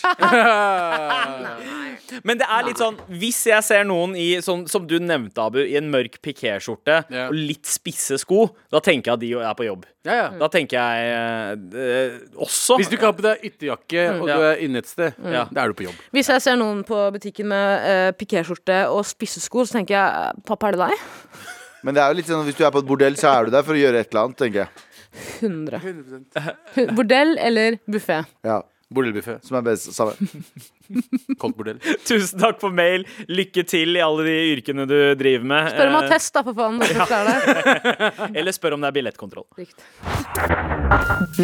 Men det er litt sånn, hvis jeg ser noen i, sånn, som du nevnte, Abu, i en mørk pikéskjorte Ja. og litt spisse sko, da tenker jeg at de er på jobb. Ja, ja. Da tenker jeg eh, eh, også Hvis du ikke har på deg ytterjakke Mm. og du Ja. er inne et sted, Ja. da er du på jobb. Hvis jeg ser noen på butikken med uh, pikéskjorte og spisse sko, så tenker jeg eh, Pappa, er det deg? Men det er jo litt sånn, hvis du er på et bordell Så er du der for å gjøre et eller annet, tenker jeg 100. Hun- Bordell eller buffé? ja, Bordellbuffé. Som er best samme Koldt bordell. Tusen takk for mail. Lykke til i alle de yrkene du driver med. Spør om Eh, attest, da, for faen. når du er der. Eller spør om det er billettkontroll. Riktig.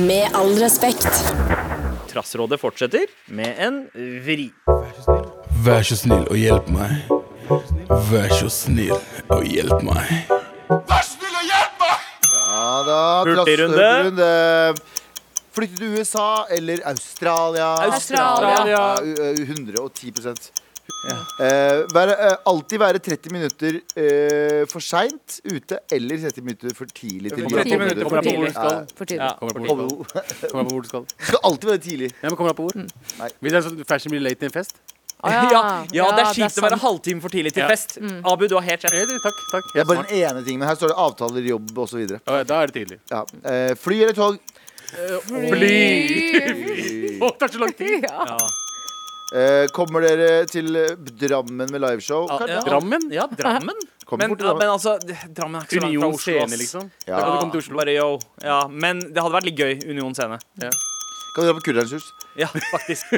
Med all respekt. Trassrådet fortsetter med en vri. Vær så snill og hjelp meg. Vær så snill og hjelp meg. Ja da, trass- Hurtigrunde. hurtigrunde. Flytte til USA eller Australia Australia. Ja, u- eh, ø, 110 Eh, være, eh, alltid være 30 minutter eh, for seint ute eller 30 minutter for tidlig til 30 jobb. minutter For på tidlig. bordet skal. For tidlig. Ja. Kommer deg på Kommer- hvor du skal. Kommer deg på hvor du skal. Skal alltid være tidlig. Ja, men kommer deg på hvor? Mm. Nei. Hvis det er sånn fashion blir late til en fest? Å, Ja, ja, det er sant. kjipt å være halvtime for tidlig til Ja. fest. Abu, du har helt rett. Eller, takk, takk. Det er bare den ene tingen, men her står det avtaler, jobb osv. Ja, da er det tidlig. Ja. Eh, fly eller tog? Fly! Å, det tar så lang tid! Ah, Eh, kommer dere til eh, Drammen med liveshow? Kan- ja. Drammen? Ja, Drammen. Kommer Men, bort til ja, men Drammen. altså, Drammen er ikke så langt fra Union Oslo. ass. Scene, liksom. Ja. Da kan du komme til Oslo. Bare yo. Ja, men det hadde vært litt gøy. Union scene. Kan dere på Kurderens Ja, faktisk.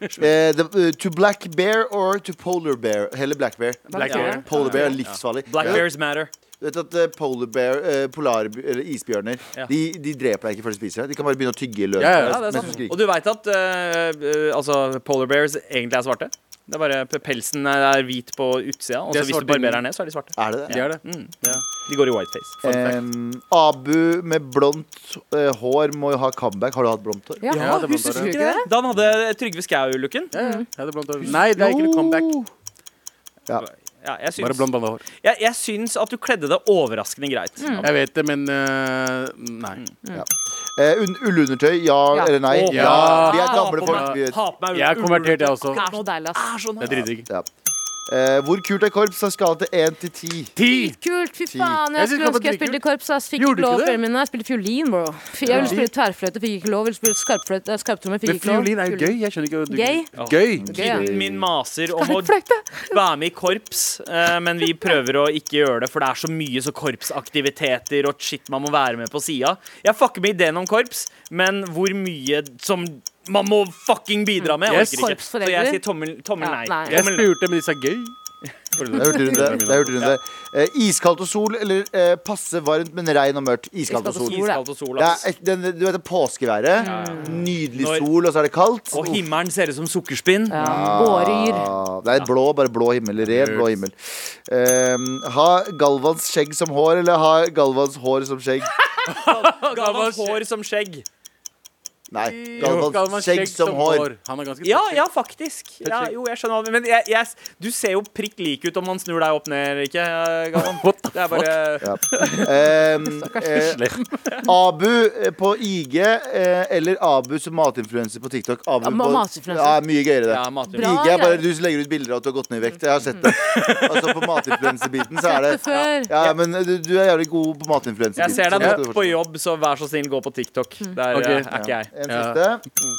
Eh, the- eh, to black bear or to polar bear? Heller black bear. Black Ja. Air. Polar bear er livsfarlig. Black Ja. bears matter. Du vet at eh, polar bear, eh, polar, eller isbjørner Ja. de, de dreper deg ikke før de spiser deg. De kan bare begynne å tygge løs. Ja, ja, Ja, det er mens du sant. skriker. Og du veit at eh, eh, altså, polar bears egentlig er svarte? Det er bare p- Pelsen er er hvit på utsida, og så Det er hvis du svarte barberer ned, så er de svarte. Mm. Er det det? Det er det. De går i whiteface. Em, Abu med blondt eh, hår må jo ha comeback. Har du hatt blondt hår? Ja, Ja, det var husker bare- du ikke det? Da han hadde Trygve Skau-looken. Ja, ja. Ja, det er blant annet. Nei, det er ikke noe comeback. Ja. Ja, jeg, Bare syns, blond blanda hår. jeg, jeg syns at du kledde det overraskende greit. Jeg vet det, men eh, Nei. Eh, un- Ullundertøy, ja, Ja. eller nei? Å, Ja. ja. Vi er Ta gamle på folk. meg- Vi vet. ta på meg Jeg er ull- konvertert, jeg også. Det er så deilig, ass. Det er dritdigg. Ja. Eh, hvor kult er korps? Jeg skal til 1 til 10. Ti! Kult, fy Ti. Jeg faen. synes det Jeg skulle var ønske dritkult. jeg spilte i korps. ass. Fikk Gjorde ikke du ikke lov det? foreldrene mine. Jeg spilte fiolin, bro. Fy- Jeg ville spille tverrfløyte, fikk ikke lov. Ville spille skarpfløyte, eh, skarptromme, fikk Men ikke lov. fiolin er jo gøy. Jeg skjønner ikke hva du Gøy. Gøy? Gøy, ja. Kiden min maser om å Skarpfløyte. være med i korps, eh, men vi prøver å ikke gjøre det, for det er så mye så korpsaktiviteter og shit man må være med på sida. Jeg fucker med ideen om korps, men hvor mye som man må fucking bidra med, Yes. orker ikke. Så jeg sier tommel, tommel Ja, nei. nei. Jeg Tommel nei. spurte, men de sa gøy. Det hørte rundt det. det, hørte rundt det. Eh, iskaldt og sol, eller eh, passe varmt, men regn og mørkt. Iskaldt og sol. Iskaldt og Iskaldt og sol, sol. Det ass. er et, den, du vet det påskeværet. Nydelig Når- sol, og så er det kaldt. Og himmelen ser ut som sukkerspinn. Ja, Gårdyr. Ah, det er blå, bare blå himmel. Red, blå himmel. Ehm, ha Galvans skjegg som hår, eller ha Galvans hår som skjegg? Gammelt hår som skjegg. Nei, Jo, Galvans, skjegg, som hår. Han er ganske Ja, ja, faktisk. Ja, jo, jeg skjønner hva du- Men jeg, jeg, du ser jo prikk lik ut om man snur deg opp ned, ikke, eh, Galvan? Det er bare Ehm, eh, Abu eh, på IG, eh, eller Abu som matinfluenser på TikTok. Abu Ja, ma- på- matinfluencer. Ja, mye gøyere det. ja, matløp. Bra IG er bare greier. du som legger ut bilder av at du har gått ned i vekt. Jeg har sett det. Mm. Altså på matinfluenserbiten så er det Før. Ja, men du, du er jævlig god på matinfluenser. Jeg ser deg nok på jobb, så vær så snill, gå på TikTok. Der Ok. eh, er ikke jeg. En Ja. siste.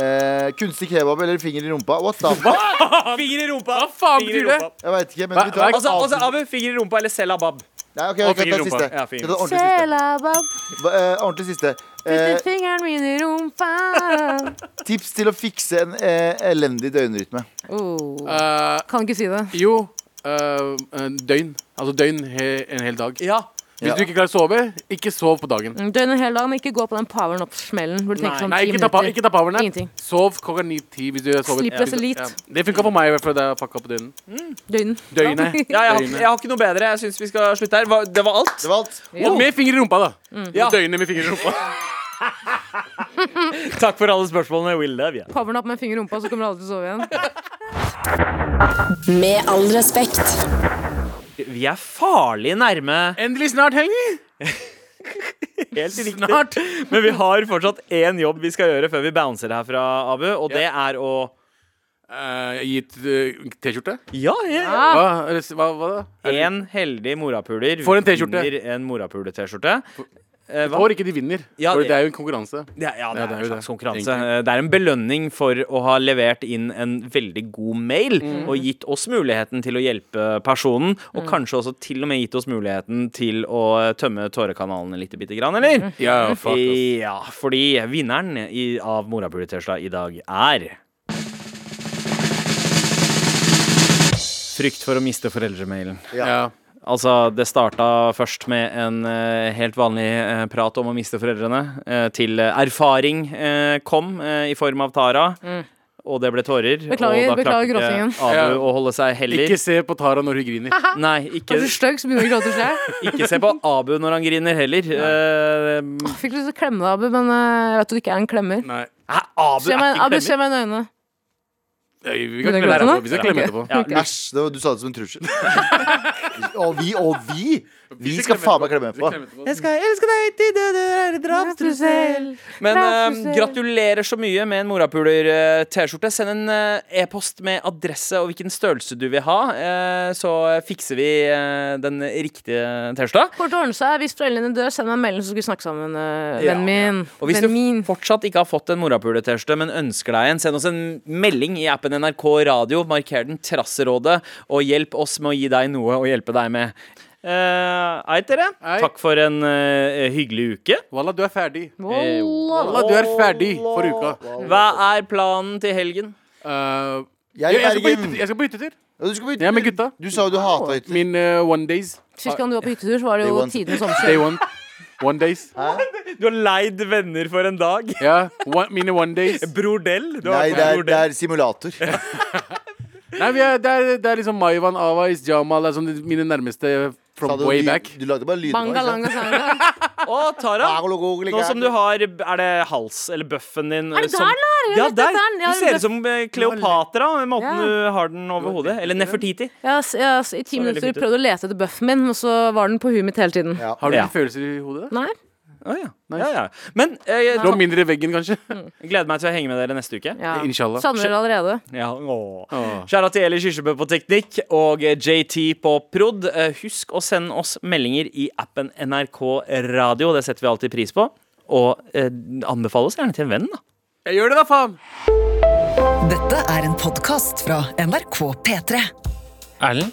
Eh, kunstig kebab eller finger i rumpa? What the fuck? Finger i rumpa! Hva faen finger i betyr det? rumpa. Jeg veit ikke, men Hva- vi tar hva er- Altså, altså, Abu, finger i rumpa eller selabab? Nei, ok, ok, finger i ta rumpa. siste. Ja, Vi finger. tar den ordentlig siste. Selabab, Hva- eh, ordentlig siste. Eh, puttet fingeren min i rumpa. Eh. tips til å fikse en eh, elendig døgnrytme. Oh. Eh, Kan ikke si det. Jo, eh, eh, døgn. Altså døgn he, en hel dag. Ja. Hvis du ikke klarer å sove, ikke sov på dagen. Mm, Døgnet hele dagen, ikke gå på den poweren opp smellen. Burde tenke sånn Nei, ti ikke ta, pa- minutter. ikke ta powernap. Ingenting. Sov klokka ni-ti hvis du har sovet. Sleepless elite. Ja. Det funka for meg, i hvert fall da jeg pakka opp døgnen. Døgnet. Døgnet. ja jeg, har, jeg har ikke noe bedre. Jeg syns vi skal slutte her. Hva- Det var alt. Det var alt. Og med finger i rumpa, da. Mm. Ja. Døgnet med finger i rumpa. Takk for alle spørsmålene. We love you. Poweren opp med en finger i rumpa, så kommer du aldri til å sove igjen. Med all respekt. Vi er farlig nærme Endelig snart helg! helt riktig. Men vi har fortsatt én jobb vi skal gjøre før vi bouncer herfra, Abu, og det er å Uh, gitt eh, T-skjorte? Ja, ja. Hva, hva, hva da? En heldig morapuler Får en T-skjorte. vinner en morapule-T-skjorte. Eh, hva? Får ikke de vinner. Ja, for det- det er jo en konkurranse. Ja, ja, det, Ja, det er er jo en slags det, konkurranse. egentlig. Eh, Det er en belønning for å ha levert inn en veldig god mail, og gitt oss muligheten til å hjelpe personen, og kanskje også til og med gitt oss muligheten til å eh, tømme tårekanalene litt bitte grann, eller? Ja, fuck, altså. ass. Ja, fordi vinneren i, av Morapulitørsdag i dag er Frykt for å miste foreldremailen. Ja. Altså, det starta først med en eh, helt vanlig eh, prat om å miste foreldrene, eh, til eh, erfaring eh, kom eh, i form av Tara. Og det ble tårer. Beklager, og da klarte beklager ikke gråtingen. Ja. Abu å holde seg heller. Ikke se på Tara når hun griner. Nei, Er ikke, du så stygg, så begynner du å gråte selv. ikke se på Abu når han griner heller. Eh, Fikk lyst til å klemme deg, Abu, men eh, jeg vet du ikke er en klemmer. Nei. hæ, Abu Se er ikke meg, Abu, en se klemmer. meg i øynene. Nei, Vi Vil kan du klemme gråte etterpå. nå? Vi skal klemme etterpå. Ja. Æsj, det var- du sa det som en trussel. og vi, og vi! Vi skal faen meg klemme på. Jeg skal elske deg til døde er drapstrussel. Men Drapstrussel. eh, gratulerer så mye med en morapuler-T-skjorte. Send en eh, e-post med adresse og hvilken størrelse du vil ha, eh, så fikser vi eh, den riktige T-skjorta. Kort å ordne seg. Hvis foreldrene dør, send meg en melding, så skal vi snakke sammen. eh, Ja. Vennen min. Og hvis du Vennen min. fortsatt ikke har fått en morapuler-T-skjorte, men ønsker deg en, send oss en melding i appen NRK Radio. Marker den Trasserådet, og hjelp oss med å gi deg noe å hjelpe deg med. Uh, Eit, dere. Hei. Takk for en eh, hyggelig uke. Walla, du er ferdig. Wallah. Walla, du er ferdig for uka. Hva er planen til helgen? Uh, Jeg jeg, er i jeg, skal på Bergen. hyttetur. jeg skal på hyttetur. Ja, du skal på hytte- Jeg er med gutta. Du sa jo du hata hytter. Min eh, one days. Sist gang du var på hyttetur, så var det Day jo one. tidens Day omsorg. one. One days. Du har leid venner for en dag. Ja, one, mine one days. Bror Dell. Du Nei, vært det er, Bror det Dell. er simulator. Nei, vi er, det, er, det er liksom Maivan, Awais, Jamal det er sånn mine nærmeste from Sa du way ly- back. Du lagde bare lyder nå, ikke sant? Bangalanga sanga. Å, Tara. Nå som du har Er det hals eller bøffen din Er det der, da? der! Hun Ja, likte der! den. Ja, Du ser ut som eh, Kleopatra med måten Ja. du har den over hodet. Eller Nefertiti. jeg har s- jeg har s- I ti veldig minutter fint ut. prøvd å lete etter buffen min, og så var den på huet mitt hele tiden. Ja. Har du Ja. noen følelser i hodet? da? Nei? Å ja. ja, ja. Men eh, jeg Du har mindre i veggen, kanskje? gleder meg til å henge med dere neste uke. Ja. Inshallah. Savner dere allerede. Ja, åh. Åh. Kjære til Eli Kirsebø på teknikk og JT på prod. Eh, Husk å sende oss meldinger i appen NRK Radio. Det setter vi alltid pris på. Og eh, anbefale oss gjerne til en venn, da. Jeg gjør det, da, faen! Dette er en podkast fra NRK P3. Erlend,